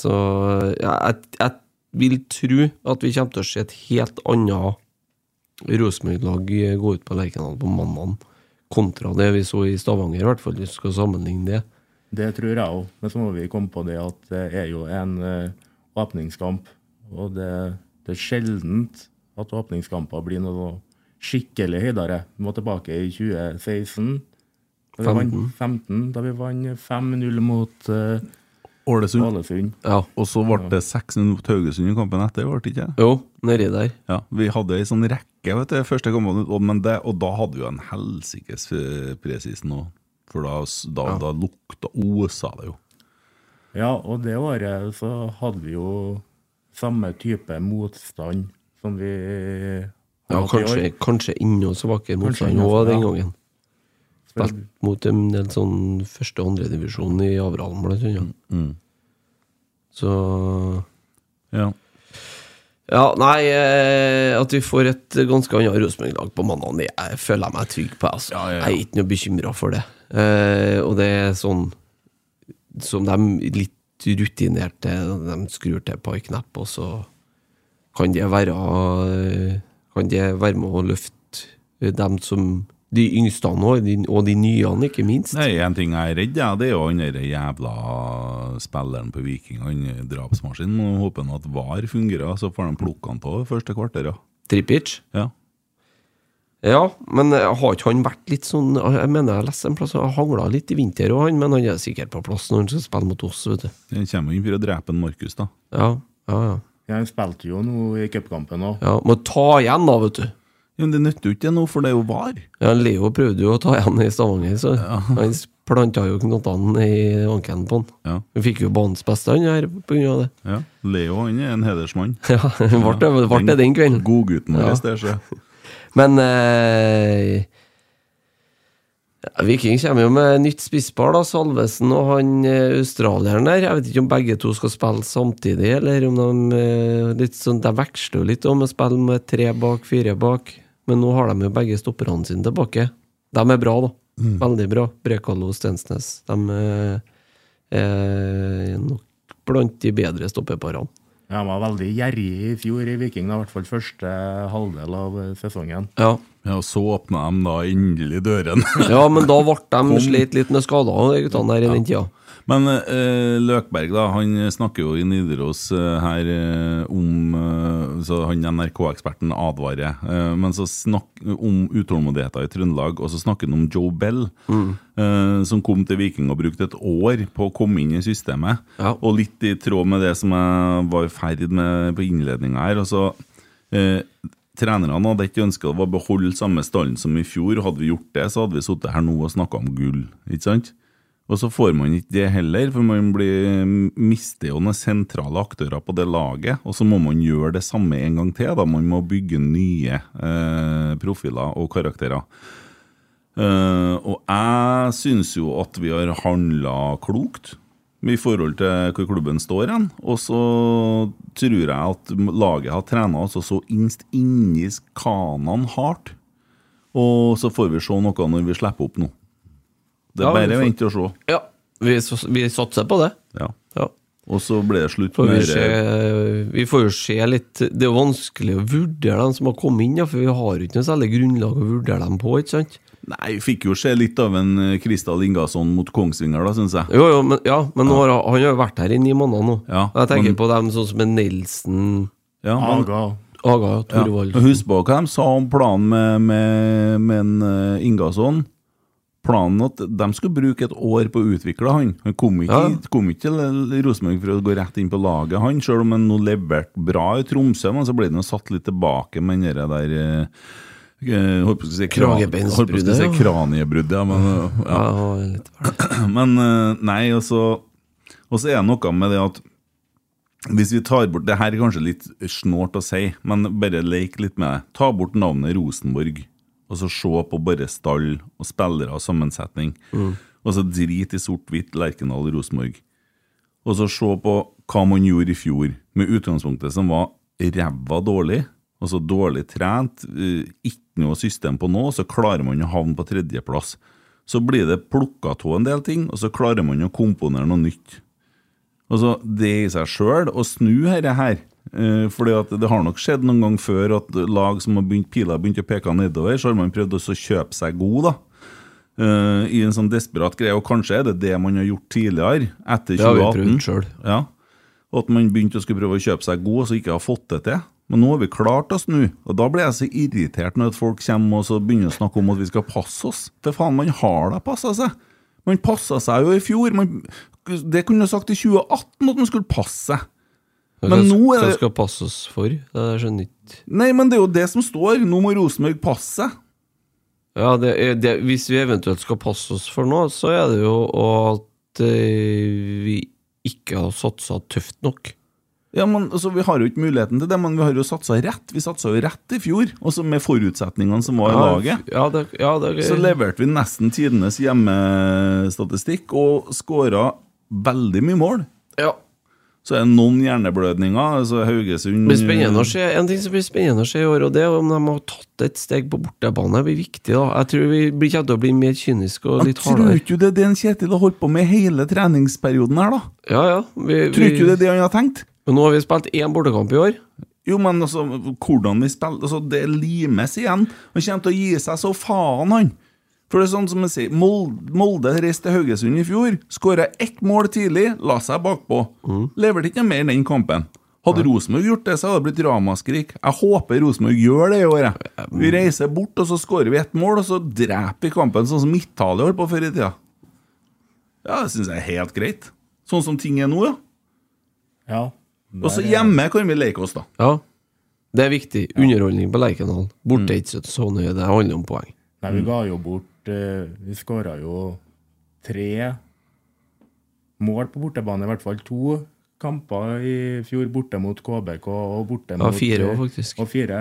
C: så ja, jeg, jeg vil tro at vi kommer til å se et helt annet Rosenborg-lag gå ut på Lerkendal på mandag, kontra det vi så i Stavanger, i hvert fall, hvis vi skal sammenligne det.
D: Det tror jeg òg. Men så må vi komme på det at det er jo en eh, åpningskamp. Og det, det er sjeldent at åpningskamper blir noe skikkelig høydere. Vi må tilbake i 2016. Da vi vant 15, da vi vant 5-0 mot eh,
B: Ålesund.
D: Ålesund.
C: Ja.
B: Og så ble det 6-0 mot Haugesund i kampen etter, ble det ikke?
C: Jo, nedi der.
B: Ja, vi hadde ei sånn rekke vet du, første kampen, og, men det, og da hadde vi jo en helsikes eh, presisen òg. For da, s- da, da lukta osa det jo.
D: Ja, og det året så hadde vi jo samme type motstand som vi har
C: Ja,
D: hatt i
C: kanskje,
D: år.
C: kanskje enda svakere motstand
D: enda-
C: òg
D: ja.
C: den gangen.
D: For-
C: Spilt mot en del sånn første- og andredivisjon i Averhallen, blant annet.
B: Mm,
C: Så
B: Ja.
C: Ja, nei, eh, at vi får et ganske annet Rosenborg-lag på mandag, det jeg føler jeg meg trygg på. Altså.
B: Ja, ja, ja.
C: Jeg er ikke noe bekymra for det. Eh, og det er sånn som de litt rutinerte De skrur til et par knepp, og så eh, kan det være Kan det være med å løfte dem som De yngste og de, og de nye, ikke minst.
B: Nei, en ting jeg er redd ja, det er jo han der jævla spilleren på Viking, han drapsmaskinen. Nå håper han at VAR fungerer, så får de plukke han på første kvarteret.
C: Trippic.
B: Ja.
C: Ja, men eh, har ikke han vært litt sånn Jeg mener jeg leste en plass Han hangla litt i vinter òg, han, men han er sikkert på plass når han skal spille mot oss, vet du.
B: Han kommer inn for å drepe en Markus, da.
C: Ja, ja, ja.
D: Jeg spilte jo nå i cupkampen òg.
C: ja må ta igjen, da, vet du.
B: Ja, men det nytter jo ikke nå, for det er jo VAR.
C: Ja, Leo prøvde jo å ta igjen i Stavanger, så han planta jo knottene i ankelen på han.
B: Ja.
C: Han fikk jo banens beste, han her, på grunn av det.
B: Ja. Leo han er en hedersmann.
C: Ja, ble det, ble det den kvelden.
B: Godgutten vår,
C: Ja.
B: det skjer.
C: Men eh, ja, Viking kommer jo med nytt spisspar, da. Salvesen og han eh, australieren der. Jeg vet ikke om begge to skal spille samtidig, eller om de eh, litt sånn, De veksler jo litt om å spille med tre bak, fire bak. Men nå har de jo begge stopperne sine tilbake. De er bra, da. Veldig bra. Brekalo og Stensnes. De eh, er nok blant de bedre stoppeparene.
D: Jeg var veldig gjerrig i fjor i Viking, da, i hvert fall første halvdel av eh, sesongen.
C: Ja.
B: Ja, og så åpna de da endelig døren.
C: ja, men da ble de slitt litt med skader, de guttene der i den tida.
B: Men eh, Løkberg da, han snakker jo i Nidaros eh, her eh, om eh, Så han NRK-eksperten advarer. Eh, men så snakk om utålmodigheten i Trøndelag, og så snakker han om Joe Bell, eh, som kom til Viking og brukte et år på å komme inn i systemet.
C: Ja.
B: Og litt i tråd med det som jeg var i ferd med på innledninga her. altså eh, Trenerne hadde ikke ønska å beholde samme stallen som i fjor. Hadde vi gjort det, så hadde vi sittet her nå og snakka om gull. ikke sant? Og så får man ikke det heller, for man blir, mm, mister jo noen sentrale aktører på det laget. Og så må man gjøre det samme en gang til. da Man må bygge nye eh, profiler og karakterer. Eh, og jeg syns jo at vi har handla klokt i forhold til hvor klubben står hen. Og så tror jeg at laget har trena altså så innst inni kanan hardt. Og så får vi se noe når vi slipper opp nå. Det
C: Ja,
B: er
C: vi
B: bare
C: får-
B: å vente og se.
C: Ja, vi, s- vi satser på det.
B: Ja.
C: Ja.
B: Og så ble det slutt
C: Får vi,
B: med
C: se,
B: det.
C: vi får jo se litt Det er jo vanskelig å vurdere dem som har kommet inn, ja, for vi har jo ikke noe særlig grunnlag å vurdere dem på. ikke sant?
B: Nei, vi fikk jo se litt av en eh, Kristal Ingasson mot Kongsvinger, da, syns jeg.
C: Jo, jo, men, ja, men nå har, han har jo vært her i ni måneder nå.
B: Ja,
C: Og jeg tenker
B: men-
C: på dem sånn som en Nelson,
B: Ja, men-
D: Aga.
C: Aga
B: ja.
C: Thorvald
B: Men Husk på hva de sa om planen med, med, med en eh, Ingasson. Planen at de skulle bruke et år på å utvikle han. Han kom ikke,
C: Ja.
B: kom ikke til L- Rosenborg for å gå rett inn på laget, han. Selv om han nå leverte bra i Tromsø, men så ble han jo satt litt tilbake med den der, der eh, eh, Holdt på å si kra-
C: Kragebeinsbruddet,
B: holdt på å si
C: ja.
B: kraniebruddet, ja, men eh, ja.
C: Ja, han er litt verdt.
B: Men eh, nei, og så Og så er det noe med det at hvis vi tar bort Det her er kanskje litt snålt å si, men bare lek litt med det. Ta bort navnet Rosenborg, og så se på bare stall og spillere og sammensetning. Og så drit i sort-hvitt Lerkendal og Rosenborg. Og så se på hva man gjorde i fjor, med utgangspunktet som var ræva dårlig. Altså dårlig trent, eh, ikke noe system på nå, så klarer man å havne på tredjeplass. Så blir det plukka av en del ting, og så klarer man å komponere noe nytt. Altså, det i seg sjøl, å snu dette her eh, fordi at det har nok skjedd noen gang før at lag som har begynt, pila har begynt å peke nedover, så har man prøvd også å kjøpe seg god, da. Eh, I en sånn desperat greie. Og kanskje er det det man har gjort tidligere, etter
C: Det har vi
B: 2018.
C: prøvd selv.
B: Ja. Og at man begynte å skulle prøve å kjøpe seg god, og så ikke har fått det til. Men nå har vi klart å snu, og da blir jeg så irritert når at folk kommer og så begynner å snakke om at vi skal passe oss. For faen, man har da passa seg! Man passa seg jo i fjor. Man, det kunne du sagt i 2018 at man skulle passe seg. Men
C: Hva-
B: nå er
C: Hva
B: det-
C: skal passe oss for? Det er skjønner jeg ikke.
B: Nei, men det er jo det som står. Nå må Rosenborg passe seg.
C: Ja, det, er- det, hvis vi eventuelt skal passe oss for noe, så er det jo at eh, vi ikke har satsa tøft nok.
B: Ja, men altså, Vi har jo ikke muligheten til det, men vi har jo satsa rett. Vi satsa jo rett i fjor, også med forutsetningene som var i laget.
C: Ja, det, ja, det,
B: Så leverte vi nesten tidenes hjemmestatistikk og skåra veldig mye mål.
C: ja.
B: Så er det noen hjerneblødninger. Altså Haugesund eh,
C: Det blir spennende å se. En ting som blir spennende å se i år, og det er om de har tatt et steg på bortebane. Det blir viktig, da. Jeg tror vi blir kommer til å bli mer kyniske og
B: Jeg
C: litt
B: tror
C: hardere.
B: ikke det er det en Kjetil har holdt på med hele treningsperioden her, da.
C: Ja, ja. Vi,
B: Tror
C: vi,
B: ikke det er det han har tenkt?
C: Men nå har vi spilt én bortekamp i år.
B: Jo, men altså, hvordan de spiller altså, Det limes igjen. Han kommer til å gi seg så faen, han. For det er sånn som jeg sier, Molde, Molde reiste til Haugesund i fjor, skåra ett mål tidlig, la seg bakpå. Leverte ikke noe mer i den kampen. Hadde Rosenborg gjort det, så hadde det blitt ramaskrik. Jeg håper Rosenborg gjør det i år. jeg. Vi reiser bort, og så skårer vi ett mål, og så dreper vi kampen, sånn som Italia holdt på før i tida. Ja, det syns jeg er helt greit. Sånn som ting er nå, ja.
D: Ja.
B: Og så hjemme kan vi leke oss, da.
C: Ja. Det er viktig. Underholdning på Lerkendal. Borte er ikke så nøye, det handler om poeng.
D: Nei, vi ga jo bort eh, Vi skåra jo tre mål på bortebane, i hvert fall to kamper i fjor borte mot KBK og borte mot eh,
C: fire også, faktisk.
D: Og, fire.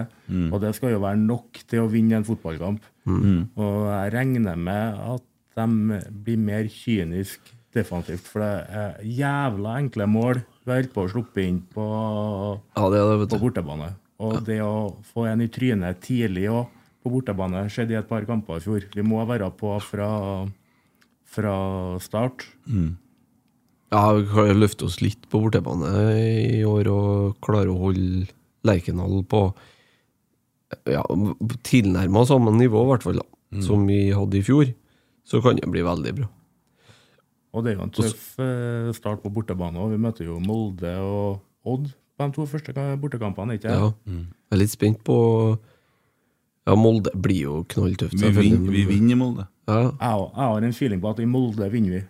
D: og det skal jo være nok til å vinne en fotballkamp. Og jeg regner med at de blir mer kynisk defensivt, for det er jævla enkle mål vi har holdt på å sluppe inn på
C: Ja, det er det,
D: på
C: vet du.
D: bortebane. Og det å få en i trynet tidlig òg på bortebane skjedde i et par kamper i fjor. Vi må være på fra, fra start.
C: Ja, vi kan jo løfte oss litt på bortebane i år og klare å holde Lerkendal på ja, tilnærma samme nivå, i hvert fall, da, som vi hadde i fjor. Så kan det bli veldig bra.
D: Og det er jo en tøff eh, start på bortebane òg. Vi møter jo Molde og Odd på de to første ka- bortekampene, ikke
C: Ja. Jeg er litt spent på Ja, Molde blir jo knalltøft.
B: Vi
C: selvfølgelig,
B: vinner,
C: men-
B: vi vinner i Molde.
C: Ja,
D: Jeg, jeg har en feeling på at i Molde vinner vi.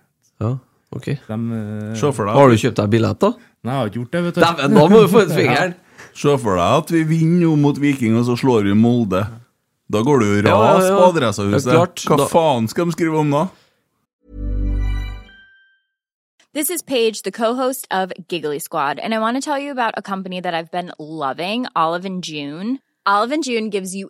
C: ja, ok.
D: De, eh,
B: Se for
C: Har
B: deg,
C: du kjøpt deg billett, da?
D: nei, jeg har ikke gjort det, vet du.
C: Dæven, da må du få ut fingeren!
B: se for deg at vi vinner jo mot Viking, og så slår vi Molde. Da går det jo ras
C: Ja, ja, ja.
B: på
C: Det er klart,
B: Adressehuset. Hva
C: da-
B: faen skal de skrive om da?
E: This is Paige, the co-host of Giggly Squad, and I want to tell you about a company that I've been loving, Olive and June. Olive and June gives you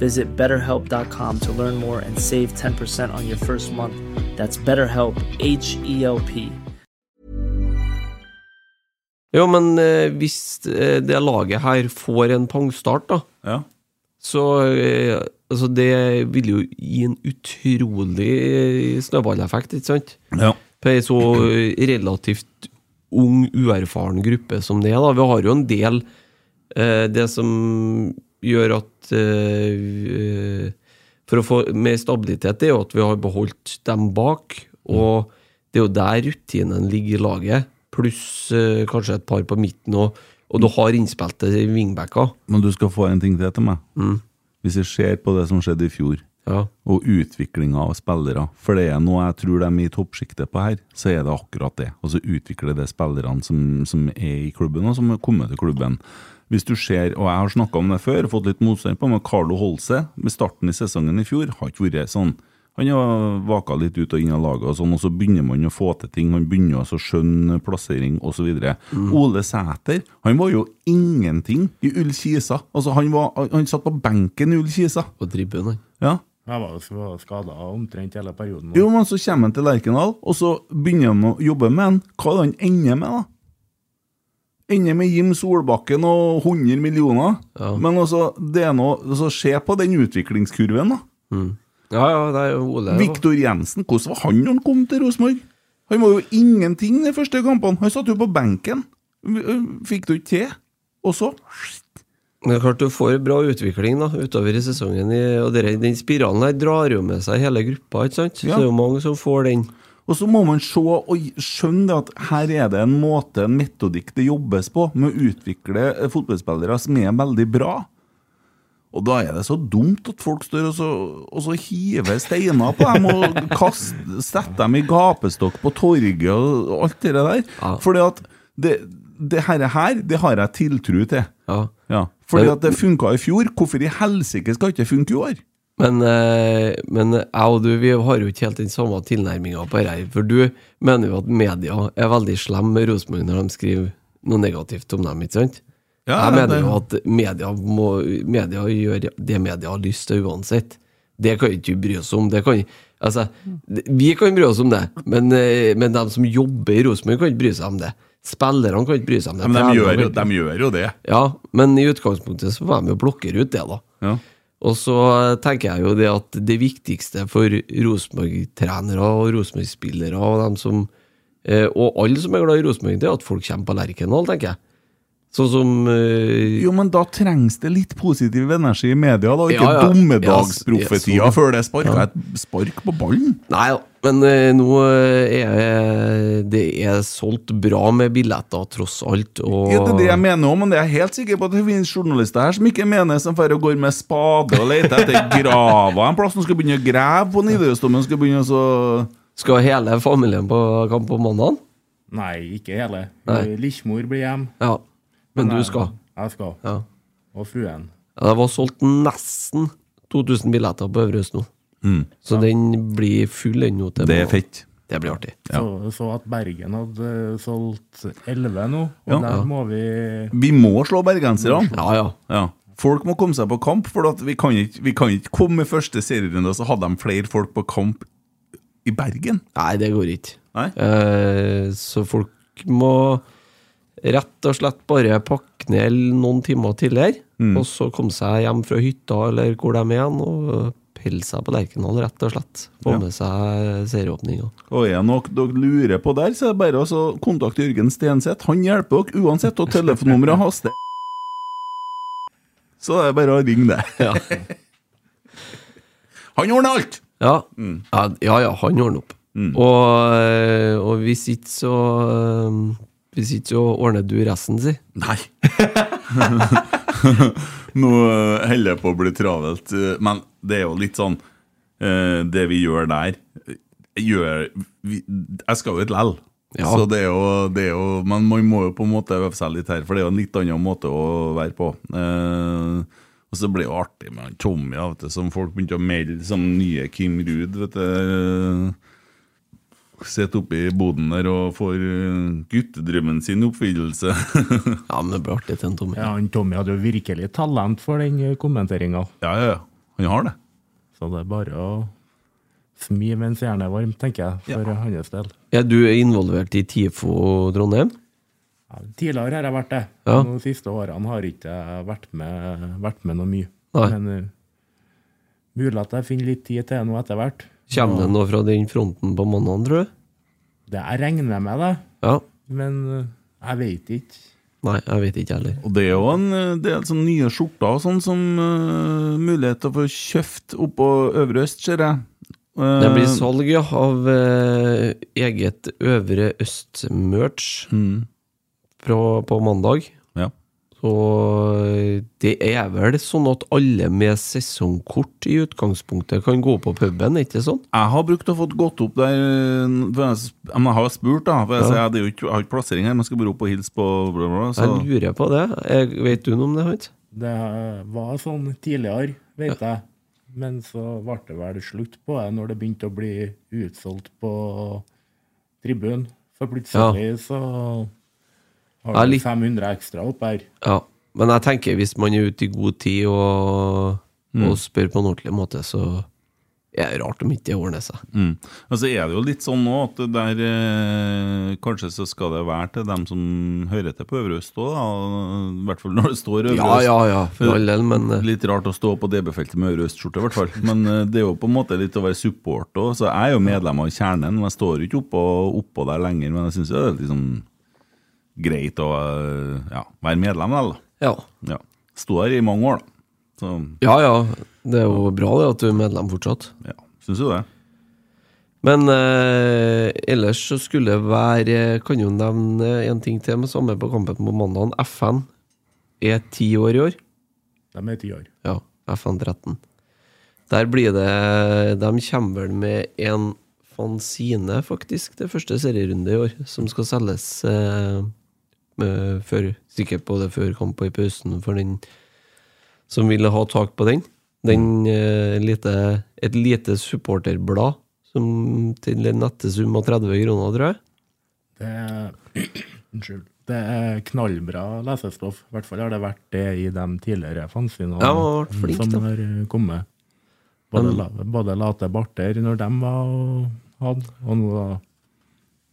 F: Visit betterhelp.com to learn more and save 10% on your first month. That's BetterHelp, H E L P.
C: Jo, men eh, hvis eh, det laget her får en pangstart, da,
B: Ja.
C: så eh, Altså, det vil jo gi en utrolig eh, snøballeffekt, ikke sant?
B: ja.
C: På ei så eh, relativt ung, uerfaren gruppe som det er, da. Vi har jo en del eh, Det som gjør at eh, For å få mer stabilitet, det er jo at vi har beholdt dem bak. Og det er jo der rutinen ligger i laget, pluss eh, kanskje et par på midten òg. Og du har innspilte wingbacker.
B: Men du skal få en ting til til meg. Hvis jeg ser på det som skjedde i fjor,
C: Ja.
B: og utviklinga av spillere, for det er noe jeg tror de er i toppsjiktet på her, så er det akkurat det. Og så utvikle de spillerne som, som er i klubben, og som har kommet til klubben. Hvis du ser, og jeg har snakka om det før, fått litt motstand på men Carlo Holse med starten i sesongen i fjor har ikke vært sånn. Han har vaka litt ut og inn av laget, og sånn, og så begynner man å få til ting. Han begynner også å skjønne plassering osv. Ole Sæter han var jo ingenting i Ull Kisa. Altså, han, var, han satt på benken i Ull Kisa.
C: Og dribben, han.
B: Ja,
D: Jeg var jo skada omtrent hele perioden.
B: jo, men så kommer han til Lerkendal, og så begynner han å jobbe med han. Hva er det han ender med, da? Ender med Jim Solbakken og 100 millioner.
C: Ja.
B: Men altså, det er noe, altså, se på den utviklingskurven, da.
C: Mm. Ja, ja, det er jo Ole.
B: Viktor Jensen, hvordan var han når han kom til Rosenborg? Han var jo ingenting de første kampene. Han satt jo på benken. Fikk det jo ikke til. Og så
C: Men Det er klart du får bra utvikling da, utover i sesongen, i- og dere- den spiralen her drar jo med seg hele gruppa, ikke sant?
B: Ja.
C: Så det er jo mange som får den.
B: Og så må man se og skjønne det at her er det en måte, en metodikk det jobbes på, med å utvikle eh, fotballspillere som er veldig bra. Og da er det så dumt at folk står og så, og så hiver steiner på dem og kast, setter dem i gapestokk på torget og og alt det der.
C: Ja.
B: Fordi at det, det her, her, det har jeg tiltro til.
C: Ja.
B: Ja, Fordi
C: Men-
B: at det funka i fjor. Hvorfor i helsike skal ikke det funke i år?
C: Men, eh, men jeg og du vi har jo ikke helt den samme tilnærminga på dette. her, For du mener jo at media er veldig slemme med Rosenborg når de skriver noe negativt om dem, ikke sant?
B: Ja,
C: jeg mener
B: det-
C: jo at media, må, media gjør det media har lyst til uansett. Det kan ikke vi bry oss om. Det kan, altså, det- vi kan bry oss om det, men, eh, men de som jobber i Rosenborg, kan ikke bry seg om det. Spillerne kan ikke bry seg om det.
B: Men de
C: trenerne
B: gjør,
C: kan
B: jo,
C: ikke-
B: de gjør jo det.
C: Ja, men i utgangspunktet så får de jo blokkere ut det, da.
B: Ja.
C: Og så eh, tenker jeg jo det at det viktigste for Rosenborg-trenere og Rosenborg-spillere og dem som eh, Og alle som er glad i Rosenborg, det er at folk kommer på Lerkendal, tenker jeg. Sånn som eh,
B: Jo, men da trengs det litt positiv energi i media, da. Ikke
C: Ja, ja.
B: dommedagsprofetier
C: Ja, så-
B: før det er sparka et spark på ballen.
C: Nei da, men eh, nå er eh, det er solgt bra med billetter, tross alt, og
B: Ja, det er det jeg mener òg, men det er jeg helt sikker på at det finnes journalister her som ikke mener som drar og går med spade og leter etter grava en plass. De skal begynne å grave på Nidarosdomen. Skal begynne å så-
C: Skal hele familien på kamp på mandag?
D: Nei, ikke hele.
C: Nei.
D: Lillmor blir hjem.
C: Ja. Men du skal?
D: Jeg skal.
C: Ja.
D: Og fruen.
C: Ja, det var solgt nesten 2000 billetter på Øverhus nå. Så den blir full ennå. til-
B: Mm. Det er fett.
C: Det blir artig.
D: Så, så at Bergen hadde eh, solgt 11 nå, og
B: Ja.
D: der må vi
B: Vi må slå bergenserne.
C: Ja, ja.
B: Ja. Folk må komme seg på kamp, for at vi, kan ikke, vi kan ikke komme i første serierunde og så hadde de flere folk på kamp i Bergen.
C: Nei, det går ikke.
B: Nei?
C: Eh, så folk må rett og slett bare pakke ned noen timer tidligere, og så komme seg hjem fra hytta eller hvor de er igjen, og pelle seg på Lerkendal, rett og slett. Få med seg serieåpninga.
B: Og er nok dere lurer på der, så er det bare å så kontakte Jørgen Stenseth. Han hjelper dere uansett, og telefonnummeret hans det Så det er bare å ringe det. Han ordner alt!
C: Ja. ja, ja, ja, han ordner opp. Og, eh, og hvis ikke, så eh, Hvis ikke, så ordner du resten, si.
B: Nei. Nå eh, holder jeg på å bli travelt, eh, men det er jo litt sånn eh, Det vi gjør der eh, gjør, vi, Jeg skal jo ut lell.
C: Ja.
B: Så det er, jo, det er jo Men man må jo på en måte øve seg litt her, for det er jo en litt annen måte å være på. Eh, og så blir det jo artig med han Tommy, ja, vet du, som folk begynte å melde som nye Kim Ruud. vet du Sitter oppe i boden der og får eh, guttedrømmen sin i oppfyllelse.
C: Ja, men det blir artig til en tomme.
D: Ja, han Tommy hadde jo virkelig talent for den kommenteringa.
B: Ja, ja, ja. Han har det.
D: Så det er bare å smi mens jernet er varmt, tenker jeg, for hans del.
C: Er du involvert i TIFO Trondheim?
D: Ja, tidligere har jeg vært det.
C: Ja.
D: De siste årene har ikke jeg vært med, vært med noe mye.
C: Nei.
D: Men eh, mulig at jeg finner litt tid til noe etter hvert.
C: Kommer det noe fra den fronten på mandag, tror du?
D: Det jeg regner med det,
C: Ja.
D: men eh, jeg vet ikke.
C: Nei, jeg vet ikke heller.
B: Og det er jo en eh, del sånn nye skjorter og sånn som eh, mulighet til å få kjøpt oppå Øvre Øst, ser jeg. Eh,
C: Det blir salg ja, av eh, eget Øvre Øst-merch Mm. fra- på mandag.
B: Ja.
C: Så eh, det er vel sånn at alle med sesongkort i utgangspunktet kan gå på puben, ikke sånn?
B: Jeg har brukt å fått gått opp der eh, for jeg, s- men jeg har spurt, da. For jeg, sier, det er jo ikke, jeg har ikke plassering her, men jeg skal bare opp og hilse på bla, bla, bla, så.
C: Jeg lurer på det. Jeg, vet du noe om det, Hans?
D: Det eh, var sånn tidligere, vet jeg. Men så ble det vel slutt på det når det begynte å bli utsolgt på tribunen. For plutselig så har
C: Ja,
D: du
C: litt-
D: 500 ekstra opp her.
C: Ja. Men jeg Mm. tenker hvis man er ute i god tid og, og spør på en ordentlig måte, så er det rart om ikke det ordner seg.
B: Mm. Men så er det jo litt sånn nå at det der eh, Kanskje så skal det være til dem som hører til på Øvre Øst òg, i hvert fall når det står Øvre
C: Ja,
B: Øst.
C: ja, ja, for all del, men eh,
B: Litt rart å stå på DB-feltet med Øvre-Øst-skjorte, i hvert fall. Men eh, det er jo på en måte litt å være support òg. Så jeg er jo medlem av kjernen, men jeg står jo ikke oppå, oppå der lenger. Men jeg syns det er liksom greit å eh, ja, være medlem, vel. da.
C: ja.
B: Ja. Sto der i mange år, da. Så
C: ja ja, det er jo bra det at du er medlem fortsatt.
B: ja, syns jo det.
C: Men eh, ellers så skulle det være Kan jo nevne en ting til med samme på kampen på mandagen. FN er ti år i år.
D: De er ti år.
C: Ja, FN 13. Der blir det De kommer vel med en fanzine, faktisk, til første serierunde i år, som skal selges eh, eh, før, sikkert både før kamp og i pausen, for den som vil ha tak på den. den eh, lite, et lite supporterblad som til en nettesum av 30 kroner, tror jeg.
D: Det er, unnskyld. Det er knallbra lesestoff. I hvert fall har det vært det i de tidligere fanzinene
C: Ja, han har vært flink, da.
D: som har eh, kommet. Både, la, både Late Barter, når de var og hadde, og nå da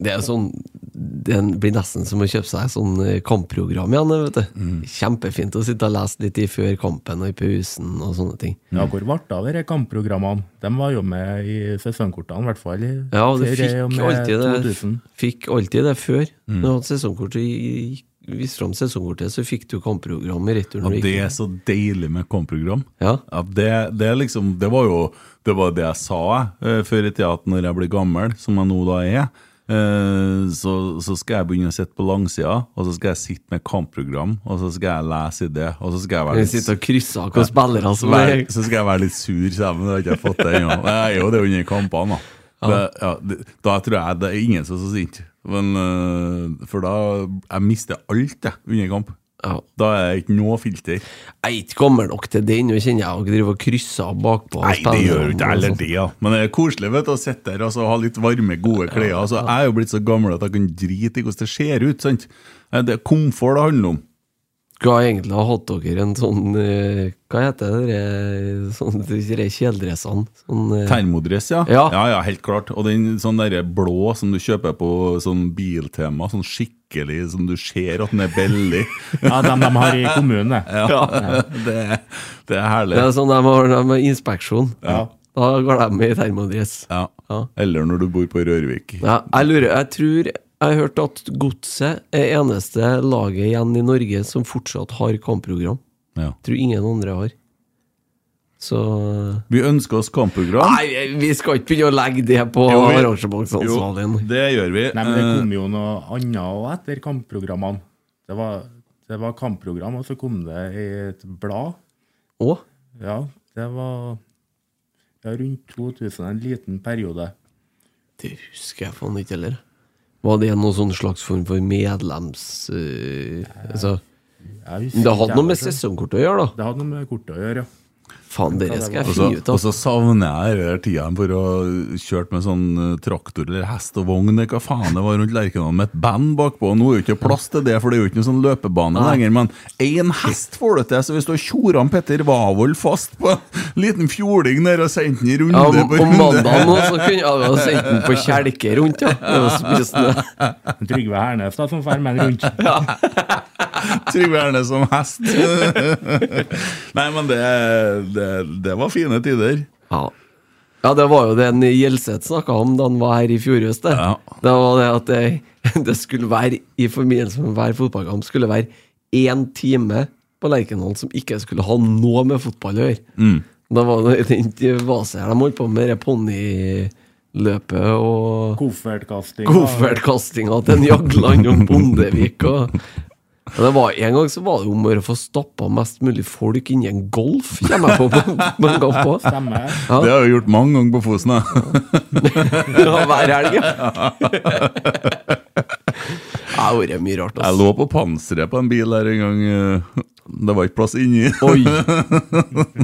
C: Det er sånn Det blir nesten som å kjøpe seg sånn eh, kampprogram igjen. vet du
B: Mm.
C: Kjempefint å sitte og lese litt i før kampen og i pausen og sånne ting.
D: Ja, hvor ble det av disse kampprogrammene? De var jo med i sesongkortene, i hvert fall. i
C: Ja, og du fikk
D: serie eh, med
B: eh,
C: alltid det,
D: 2000.
C: fikk alltid det før.
B: Mm.
C: Når du hadde sesongkort og gikk- viste fram sesongkortet, så fikk du kampprogram i retur.
B: Ja,
C: når du
B: det
C: gikk.
B: er så deilig med kampprogram.
C: Ja.
B: det, det, er liksom, det var jo det, var det jeg sa eh, før i tida, at når jeg blir gammel, som jeg nå da er, eh, så, så skal jeg begynne å sitte på langsida, og så skal jeg sitte med kampprogram, og så skal jeg lese i det, og så skal jeg være
C: Vi
B: litt
C: sitter og krysser hvilke spillere som
B: Vær,
C: er
B: så skal jeg være litt sur, selv om jeg har ikke fått det ennå. Men Jeg er jo det under kampene, da. Det, ja, det, da tror jeg det er ingen som er så sint. Men, eh, for da Jeg mister alt, jeg, under kamp.
C: Ja.
B: Da er det ikke noe filter.
C: Jeg ikke kommer nok til den, og kjenner jeg og driver og krysser bakpå. og
B: Nei, det
C: spillerne
B: gjør jo ikke
C: og
B: jeg heller
C: sånt.
B: det, ja. Men det er koselig vet du, å sitte der altså, og så ha litt varme, gode klær. Altså, jeg er jo blitt så gammel at jeg kan drite i hvordan det ser ut. sant? Eh, Det er komfort det handler om.
C: Skulle jeg egentlig ha hatt dere en sånn eh, Hva heter det? dere- Sånn, de kjeledressene? Sånn, eh,
B: Termodress, ja.
C: Ja.
B: ja, helt klart. Og den sånn derre blå som du kjøper på sånn biltema, sånn skikkelig som du ser at den er billig.
D: Ja, de de har i kommunen, det.
B: ja, det, er- det er herlig.
C: det er sånn de har de har inspeksjon.
D: Ja.
C: Da går de i termodress.
B: Ja.
C: Ja.
B: Eller når du bor på Rørvik.
C: Ja, jeg lurer, jeg tror jeg har hørt at Godset er eneste laget igjen i Norge som fortsatt har kampprogram.
B: Ja.
C: Tror ingen andre har. Så
B: Vi ønsker oss kampprogram.
C: Nei, vi skal ikke begynne å altså, legge det på
B: Jo, vi-
C: arrangementsansvarligen.
B: Jo, det gjør vi.
D: Nei, men det
C: Mm.
B: Eh,
D: kom jo noe annet òg etter kampprogrammene. Det var, det var kampprogram, og så kom det i et blad.
C: Å?
D: Ja, det var ja, rundt 2000, en liten periode.
C: Det husker jeg faen ikke heller. Var det noen sånn slags form for medlems... øh, altså,
D: Jeg husker
C: det
D: ikke
C: hadde noe med
D: jeg, altså.
C: sesongkort å gjøre, da.
D: Det hadde noe med kortet å gjøre, ja.
C: Faen, dere skal jeg
B: Og så,
C: finne ut
B: og
C: av.
B: så savner jeg den tida for å kjørt med sånn eh, traktor eller hest og vogn. eller Hva faen det var rundt Lerkendal med et band bakpå. og Nå er det jo ikke plass til det, for det er jo ikke noen sånn løpebane lenger. Men én hest får det til, så hvis du har tjora Petter Wavold fast på en liten fjording der og sendt den i runde
C: Ja, om,
B: på
C: om
B: runde
C: mandagen nå, så kunne jeg ha sendt den på kjelke rundt, ja. Det var spisende.
D: Trygve Hernes da, som drar med en rundt.
B: Trygve Erne som hest. Nei, men det, det, det var fine tider.
C: Ja. ja, det var jo det en Gjelseth snakka om da han var her i fjor høst. det.
B: Ja.
C: Det var det at det, det skulle være i forbindelse med hver fotballkamp skulle være én time på Lerkendal som ikke skulle ha noe med fotball å gjøre. Da var det den vasen her de holdt på med, det ponniløpet og
D: Koffertkasting. da.
C: Koffertkastinga til en Jagland og Bondevik og Men det var, En gang så var det jo om å gjøre å få stappa mest mulig folk inni en golf, kommer jeg på. på, på en gang på.
D: Stemmer.
C: Ja.
B: Det har jeg gjort mange ganger på Fosen. da.
C: Ja, hver helg, ja. Det har vært mye rart,
B: Jeg
C: ass.
B: lå på panseret på en bil der en gang. eh, Det var ikke plass inni.
C: Oi.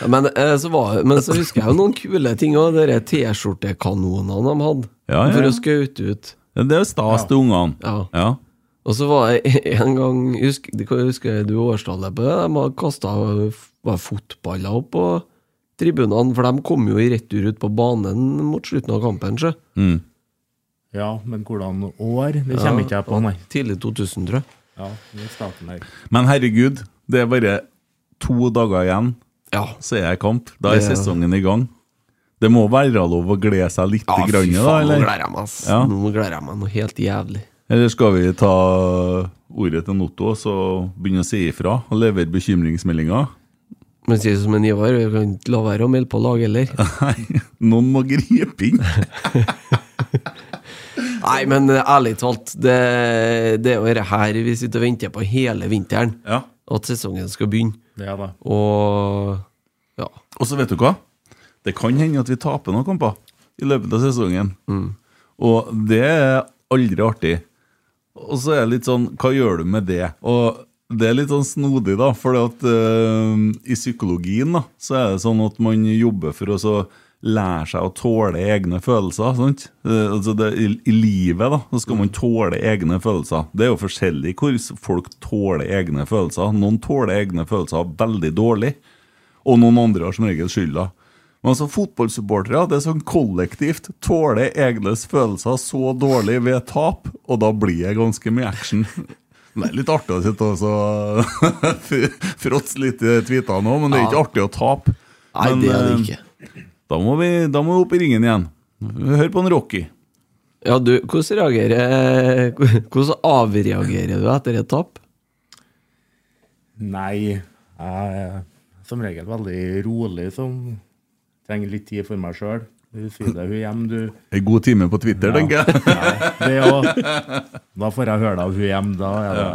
C: Ja, Men, eh, så var, men så husker jeg jo noen kule ting òg. De T-skjortekanonene de hadde
B: Ja, ja,
C: for
B: ja.
C: å skaute ut.
B: Det er stas til ungene.
C: Ja.
B: Ja.
C: Og så var jeg en gang Husker, husker du årstallet på det? De hadde kasta fotballer opp på tribunene, for de kom jo i retur ut på banen mot slutten av kampen. Ikke?
B: Mm.
D: Ja, men hvordan år? Det kommer ikke jeg på, nei.
C: Tidlig 2000, tror jeg.
D: Ja, det er starten her.
B: Men herregud, det er bare to dager igjen,
C: Ja.
B: så er det kamp. Da er
C: Det-
B: sesongen i gang. Det må være lov å glede seg litt,
C: Ja,
B: grann,
C: fy
B: da,
C: faen, nå
B: eller?
C: gleder jeg meg, ass.
B: Ja.
C: Nå gleder jeg meg noe helt jævlig.
B: Eller skal vi ta ordet til Notto og så begynne å si ifra og levere bekymringsmeldinger?
C: Men sier som en Ivar, vi kan ikke la være å melde på lag heller.
B: Nei, noen må gripe inn.
C: Nei, men eh, ærlig talt, det, det er jo dette her vi sitter og venter på hele vinteren.
B: Ja.
C: At sesongen skal begynne.
D: Ja da.
C: Og ja.
B: Og så vet du hva? Det kan hende at vi taper noen kamper i løpet av sesongen. Og det er aldri artig. Og så er det litt sånn Hva gjør du med det? Og det er litt sånn snodig, da. For at eh, i psykologien da, så er det sånn at man jobber for å så lære seg å tåle egne følelser. sant? Eh, altså det, i, I livet da, så skal man tåle egne følelser. Det er jo forskjellig hvor folk tåler egne følelser. Noen tåler egne følelser veldig dårlig og noen andre har som regel skylda. Men altså, fotballsupportere det er sånn kollektivt tåler egnes følelser så dårlig ved tap, og da blir det ganske mye action. Det er litt artig å sitte og så fr- fråtse litt i tweetene òg, men det er ikke artig å tape.
C: Nei,
B: Men,
C: det er det
B: eh,
C: ikke.
B: Da må, vi, da må vi opp i ringen igjen. Hør på en Rocky.
C: Ja, du, hvordan reagerer eh, Hvordan avreagerer du etter et tap?
D: Nei, jeg er som regel veldig rolig, som trenger litt tid for meg sjøl. Du sier det hun hjem, du.
B: En god time på Twitter, tenker jeg.
D: Nei, det er jo- Da får jeg høre det av hun hjem, da er det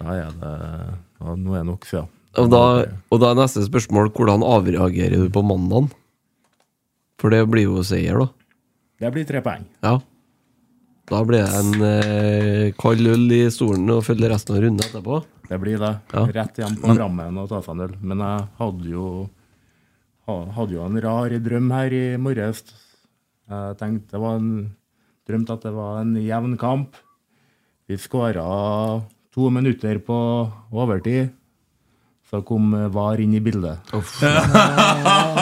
D: Da er det ja, Nå er det nok, ja.
C: Og da, og da er neste spørsmål hvordan avreagerer du på mandagen? For det blir jo seier, da.
D: Det blir tre poeng.
C: Ja. Da blir det en eh, kald øl i stolen og følger resten av runden etterpå.
D: Det blir det.
C: Ja.
D: Rett hjem på Drammen og ta seg en øl. Men jeg hadde jo ha- hadde jo en rar drøm her i morges. Jeg tenkte det var en drømte at det var en jevn kamp. Vi skåra to minutter på overtid. Så kom VAR inn i bildet.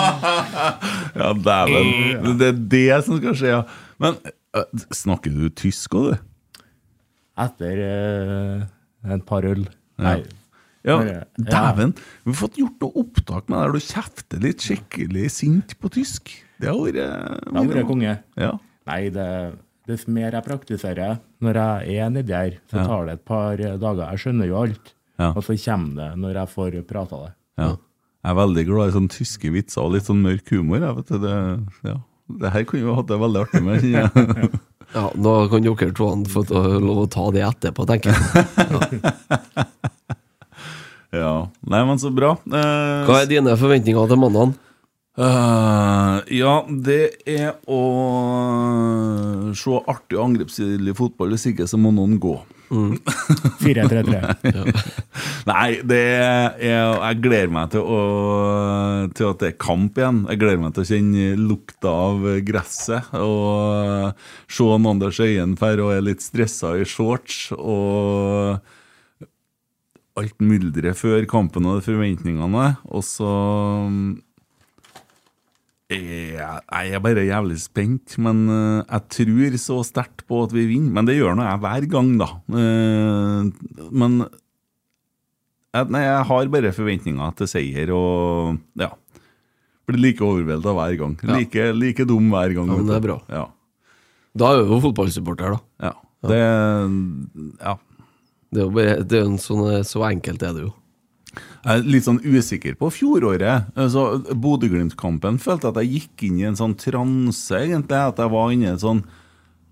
B: Ja, dæven. Det er det som skal skje, ja. Men eh, snakker du tysk òg, du?
D: Etter eh, et par øl. Nei.
B: Ja,
D: Ja.
B: dæven. Vi har fått gjort noe opptak med der du kjefter litt skikkelig sint på tysk. Det har vært
D: Da var det konge.
B: Ja.
D: Nei, det, dess mer jeg praktiserer når jeg er nedi her, så tar det et par eh, dager. Jeg skjønner jo alt.
B: Ja.
D: Og så kommer det når jeg får prata det.
B: ja. Jeg er veldig glad i sånne tyske vitser og litt sånn mørk humor. Jeg vet du. det. Ja. Det her kunne vi hatt det veldig artig med. kjenner jeg.
C: Ja, Da kan dere to han få ta- lov å ta det etterpå, tenker jeg.
B: Ja. Nei, men så bra. Eh,
C: Hva er dine forventninger til mandagen?
B: Eh, ja, det er å se artig og angrepsstilig fotball. Hvis ikke, så må noen gå.
D: 4-3-3.
B: Nei, det er, jeg, jeg gleder meg til, å, til at det er kamp igjen. Jeg gleder meg til å kjenne lukta av gresset. Og se han Anders Øyen fer og er litt stressa i shorts. Og alt mylderet før kampen og de forventningene. Og så um, er jeg jeg er bare jævlig spent, men eh, jeg tror så sterkt på at vi vinner. Men det gjør nå jeg hver gang, da. Eh, Men jeg, nei, jeg har bare forventninger til seier og ja. Blir like overvelda hver gang. Like, like dum hver gang.
C: Ja, men
B: vet
C: det er
B: du.
C: bra.
B: Ja.
C: Da er du jo fotballsupporter, da.
B: Ja. Det Ja.
C: Det er jo bare, det er jo en sånn, eh, så enkelt er det jo.
B: Jeg er litt sånn usikker på fjoråret. Altså, Bodø-Glimt-kampen følte at jeg gikk inn i en sånn transe, egentlig. At jeg var inne i en sånn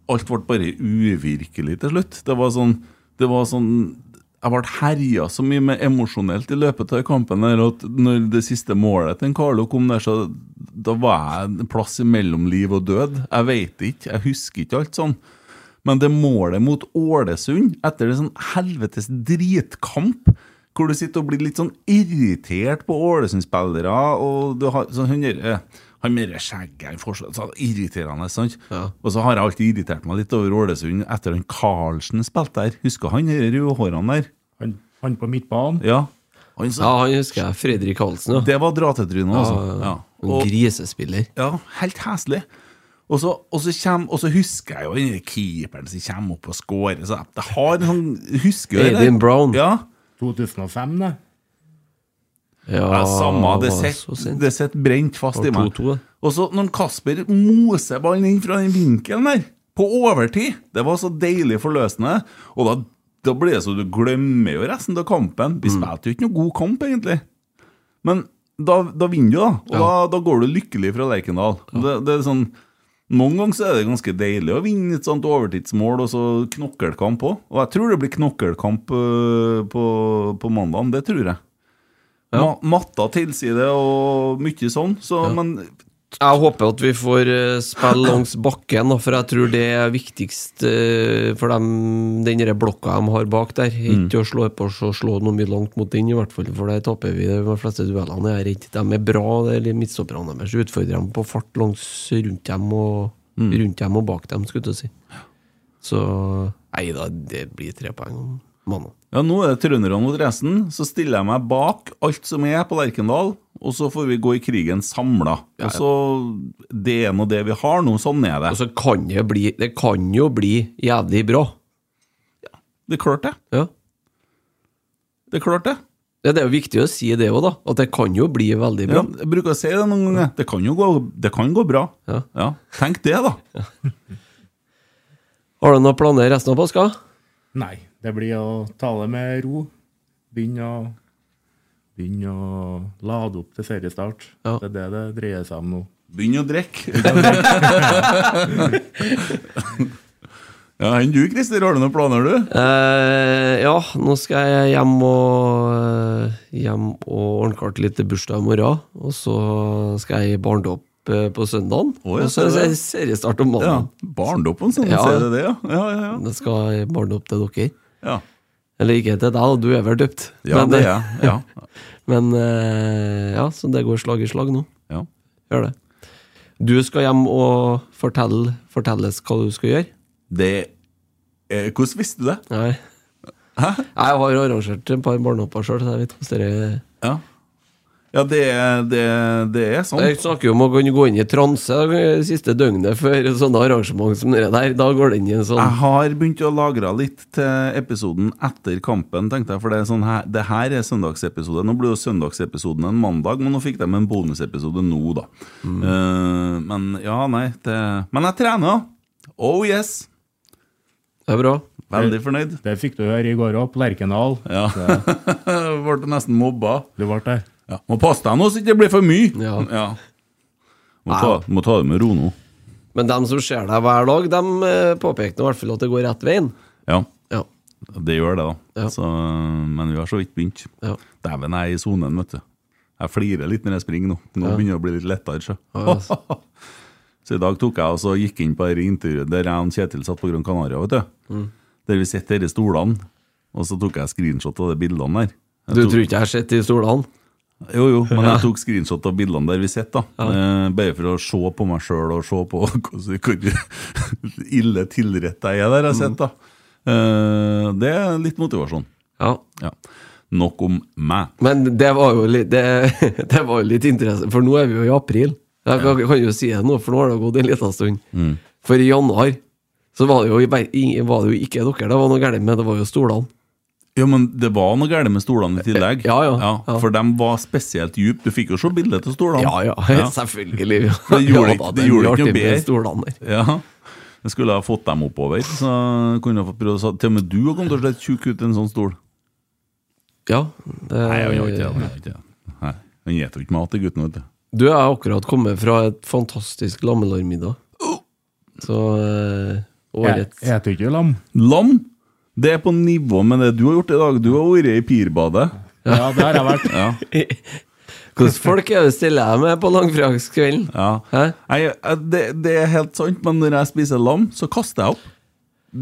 B: Alt ble bare uvirkelig til slutt. Det var sånn, det var sånn Jeg ble herja så mye med emosjonelt i løpet av kampen der, at når det siste målet til Carlo kom der, så da var jeg en plass mellom liv og død. Jeg veit ikke. Jeg husker ikke alt sånn. Men det målet mot Ålesund, etter en sånn helvetes dritkamp, hvor du sitter og blir litt sånn irritert på Ålesund-spillere og du har sånn hun gjør, eh, han med det skjegget han får så- så irriterende, sant? Og så har jeg alltid irritert meg litt over Ålesund etter han Carlsen spilte der. Husker han de rødhårene der?
D: Han, han på midtbanen.
B: Ja. Han
C: Ja,
B: sa
C: han husker jeg. Fredrik Halsen, ja.
B: Det var dratetrynet, altså. Ja.
C: En
B: Og,
C: grisespiller.
B: ja, helt heslig. Og så, og, så kjem, og så husker jeg jo den der keeperen som kommer opp og scorer. Så jeg, det har en sånn Husker jo det der.
C: Adrian Brown.
B: Ja.
D: 2005, det.
C: Ja,
B: Ja, samme, det
C: var så
B: sitter
C: sent.
B: det sitter brent fast i
C: Det var
B: meg.
C: 2-2, det.
B: Og så når Kasper moser ballen inn fra den vinkelen der, på overtid Det var så deilig forløsende. Og da, da blir det så du glemmer jo resten av kampen. Vi
C: Mm.
B: spilte jo ikke noe god kamp, egentlig. Men da, da vinner du, da. Og da, da går du lykkelig fra Lerkendal. Det, det er sånn noen ganger så er det ganske deilig å vinne et sånt overtidsmål og så knokkelkamp òg. Og jeg tror det blir knokkelkamp øh, på, på mandagen. Det tror jeg. Ma matta tilsier det, og mye sånn. Så, Men
C: Jeg håper at vi får eh, spille langs bakken, da, for jeg tror det er viktigst eh, for dem, den der blokka de har bak der. Ikke å slå på så slå noe mye langt mot den, i hvert fall, for der taper vi de fleste duellene. Jeg er redd de er bra, eller midtstopperne deres. Utfordrer dem på fart langs rundt dem og, rundt dem og bak dem, skulle jeg til å si. Så Nei da, det blir tre poeng om mandag.
B: ja, nå er det trønderne mot resten. Så stiller jeg meg bak alt som er på Lerkendal, og så får vi gå i krigen samla. Og så Det er nå det vi har nå. Sånn er det.
C: Og så kan det bli Det kan jo bli jævlig bra.
B: Det er klart, det.
C: Ja.
B: Det er klart, det.
C: Ja, Det er jo viktig å si det òg, da. At det kan jo bli veldig
B: Ja,
C: bra.
B: jeg bruker å si det noen ganger. Det kan jo gå, det kan gå bra.
C: Ja.
B: Tenk det, da.
C: Har du noen planer resten av påska?
D: Nei, det blir å ta det med ro. Begynne å, begynne å lade opp til seriestart.
C: Ja.
D: Det er det det dreier seg om nå.
B: Begynn å drikke. ja, enn du, Christer, har du noen planer, du?
C: Eh, ja, nå skal jeg hjem og, eh, hjem og ordne klart litt til bursdag i morgen. Og så skal jeg i barndåp eh, på søndagen.
B: Å, ja,
C: og så
B: ser
C: er
B: du
C: det seriestart om
B: Ja,
C: mandag.
B: Barndåpen, sånn.
C: Ja.
B: Ja. Mm. Ser du det, ja? Ja, ja, ja.
C: Jeg skal i barndåp til dere.
B: ja.
C: Eller ikke til deg, da, du er vel døpt? men
B: ja
C: eh,
B: det er jeg. Ja.
C: men eh, ja, så det går slag i slag nå.
B: Ja.
C: Gjør det. Du skal hjem og fortelle, fortelles hva du skal gjøre.
B: Det eh, Hvordan visste du det?
C: Nei. Jeg har arrangert et par barnehopper sjøl, så jeg vet hvordan det er.
B: Ja, ja det, er- det, er- det er sånn.
C: Jeg snakker jo om å kunne gå inn i transe eh, det siste døgnet før sånne arrangement som det der. Da går det inn i en sånn
B: Jeg har begynt å lagre litt til episoden etter kampen, tenkte jeg. For det, er sånn her, det her er søndagsepisode. Nå blir jo søndagsepisoden en mandag, men nå fikk de en bonusepisode nå, da. Eh, men ja, nei det, Men jeg trener. Oh yes!
C: Det er bra.
B: Veldig fornøyd.
D: Det fikk du høre i går òg, på Lerkendal.
B: Ja. Ble nesten mobba.
D: Du ble det.
B: Ja. Må passe deg nå så ikke det blir for mye!
C: Ja.
B: Må, ta, må ta det med ro nå.
C: Men dem som ser deg hver dag, dem eh, påpeker nå i hvert fall at det går rett veien.
B: Ja,
C: Ja.
B: det gjør det, da.
C: Ja.
B: Så, men vi har så vidt begynt.
C: ja.
B: Dæven, jeg er i sonen, vet du. Jeg flirer litt når jeg springer nå. Nå begynner det å bli litt lettere. Så. så i dag tok jeg og så gikk inn på dette intervjuet der jeg og Kjetil satt på Grønn Canaria, vet du.
C: Mm.
B: Der vi sitter i stolene. Og så tok jeg screenshot av de bildene der. Jeg
C: Du
B: tok-
C: tror ikke jeg har sett de stolene?
B: Jo, jo, men jeg tok screenshot av bildene der vi sitter, da. Eh, bare for å se på meg sjøl og se på hvordan hvor ille tilretta jeg er der jeg sitter, da. Eh, det er litt motivasjon.
C: Ja.
B: Ja. Nok om meg.
C: Men det var jo litt, det, det var jo litt interesse, for nå er vi jo i april. Jeg kan- kan jo si det nå, for nå har det gått en liten stund.
B: Mm.
C: For i januar så var det jo, i ver- i- var det jo ikke dere det var noe galt med, det var jo stolene.
B: Ja, men det var noe galt med stolene i tillegg.
C: Ja, ja, ja.
B: For de var spesielt dype. Du fikk jo se bildet av stolene.
C: Ja, ja, selvfølgelig.
B: For det gjorde ikke-
C: da,
B: det gjorde
C: blir
B: ikke noe
C: artig med
B: bedre.
C: stolene der.
B: Ja. Jeg skulle ha fått dem oppover. Så kunne jeg fått prøvd å sa- Til og med du kom til å se tjukk ut i en sånn stol.
C: Ja, det,
B: Nei, han gjør ikke det. han gjør ikke det. Nei, Han spiser jo ikke mat, den gutten. vet du.
C: Du jeg har akkurat kommet fra et fantastisk lammelårmiddag. Så eh, årets
D: Jeg spiser ikke lam.
B: Lam! Det er på nivå med det du har gjort i dag. Du har vært i pirbadet.
D: Ja, det har jeg vært.
B: Ja.
C: Hvordan folk er det stiller jeg med på langfredagskvelden?
B: Ja.
C: Hæ?
B: Nei, eh, det, det er helt sant, men når jeg spiser lam, så kaster jeg opp.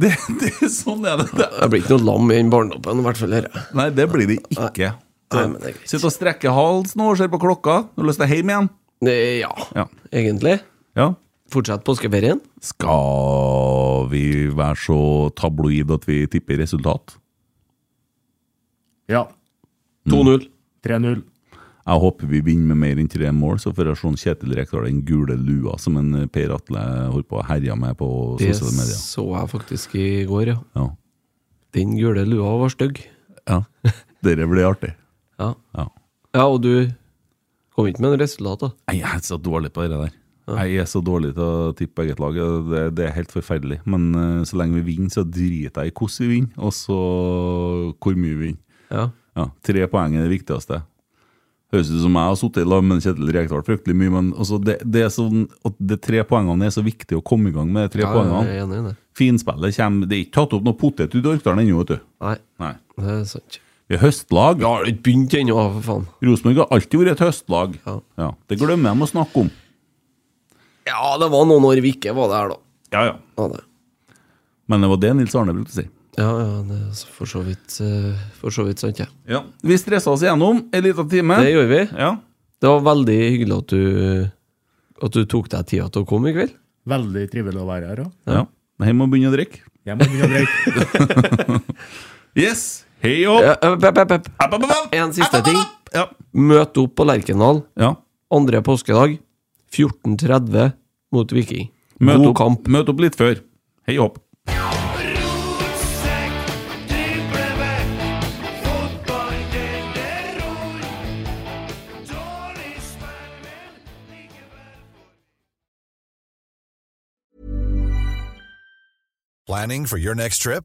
B: Det, det, sånn er det. det.
C: Jeg blir ikke noe lam i den barndommen, i hvert fall. Her.
B: Nei, det blir det ikke. Eh,
C: Nei, men det er greit.
B: Sitt og strekke halsen og ser på klokka. Du har lyst til hjem igjen.
C: Eh, Ja,
B: Ja.
C: egentlig.
B: ja.
C: Fortsett påskeferien.
B: Skal vi være så tabloid at vi tipper resultat?
D: Ja.
B: Mm.
C: 2-0.
D: 3-0.
B: Jeg håper vi vinner med mer enn tre mål, så får jeg se Kjetil Rekdal den gule lua som en eh, Per Atle holdt på å herje med på
C: Det
B: sosiale medier.
C: så jeg faktisk i går, ja.
B: Ja.
C: Den gule lua var stygg.
B: ja. Dere blir artig.
C: Ja.
B: Ja.
C: ja, og du kom ikke med noe resultat, da.
B: Nei, Jeg er så dårlig på det der. Jeg er så dårlig til å tippe eget lag. og Det, det er helt forferdelig. Men eh, så lenge vi vinner, så driter jeg i hvordan vi vinner, og så hvor mye vi vinner.
C: Ja.
B: Ja, Tre poeng er det viktigste. Høres ut som jeg har sittet i lag med Kjetil Rekdal fryktelig mye, men altså, det, det er sånn at de tre poengene er så viktig å komme i gang med. de tre
C: Ja, jeg
B: poengene.
C: er enig i det.
B: Finspillet kommer Det er ikke tatt opp noe potet ut i Orkdalen ennå, vet du.
C: Nei,
B: Nei.
C: det er sant.
B: Vi er høstlag.
C: Vi har ikke begynt ennå, for faen.
B: Rosenborg har alltid vært et høstlag.
C: Ja.
B: Ja, Det glemmer de å snakke om.
C: Ja, det var noen år vi ikke var der, da.
B: Ja, ja.
C: Ja, det.
B: Men det var det Nils Arne brukte å si.
C: Ja, ja, det er så- for så vidt, eh, for så vidt sant, jeg.
B: Ja. Vi stressa oss gjennom en liten time.
C: Det gjorde vi.
B: Ja.
C: Det var veldig hyggelig at du, at du tok deg tida til å komme i kveld.
D: Veldig trivelig å være her òg.
B: ja. Hjem og begynne å drikke.
D: Jeg må begynne å drikke.
B: Yes! Hei og
C: Eh, eh, pep, pep, pep.
B: App, app, app, app.
C: En siste
B: App, app,
C: ting.
B: app. Ja.
C: Møt opp på Lerkendal
B: ja.
C: andre påskedag 14.30 mot Viking.
B: Møt,
C: God
B: opp,
C: kamp.
B: møt opp litt før. Hei og hopp.
A: Rotsekk, driblevekk, fotball, den er rolig. Dårlig spill, men likevel
G: Planning for your next trip?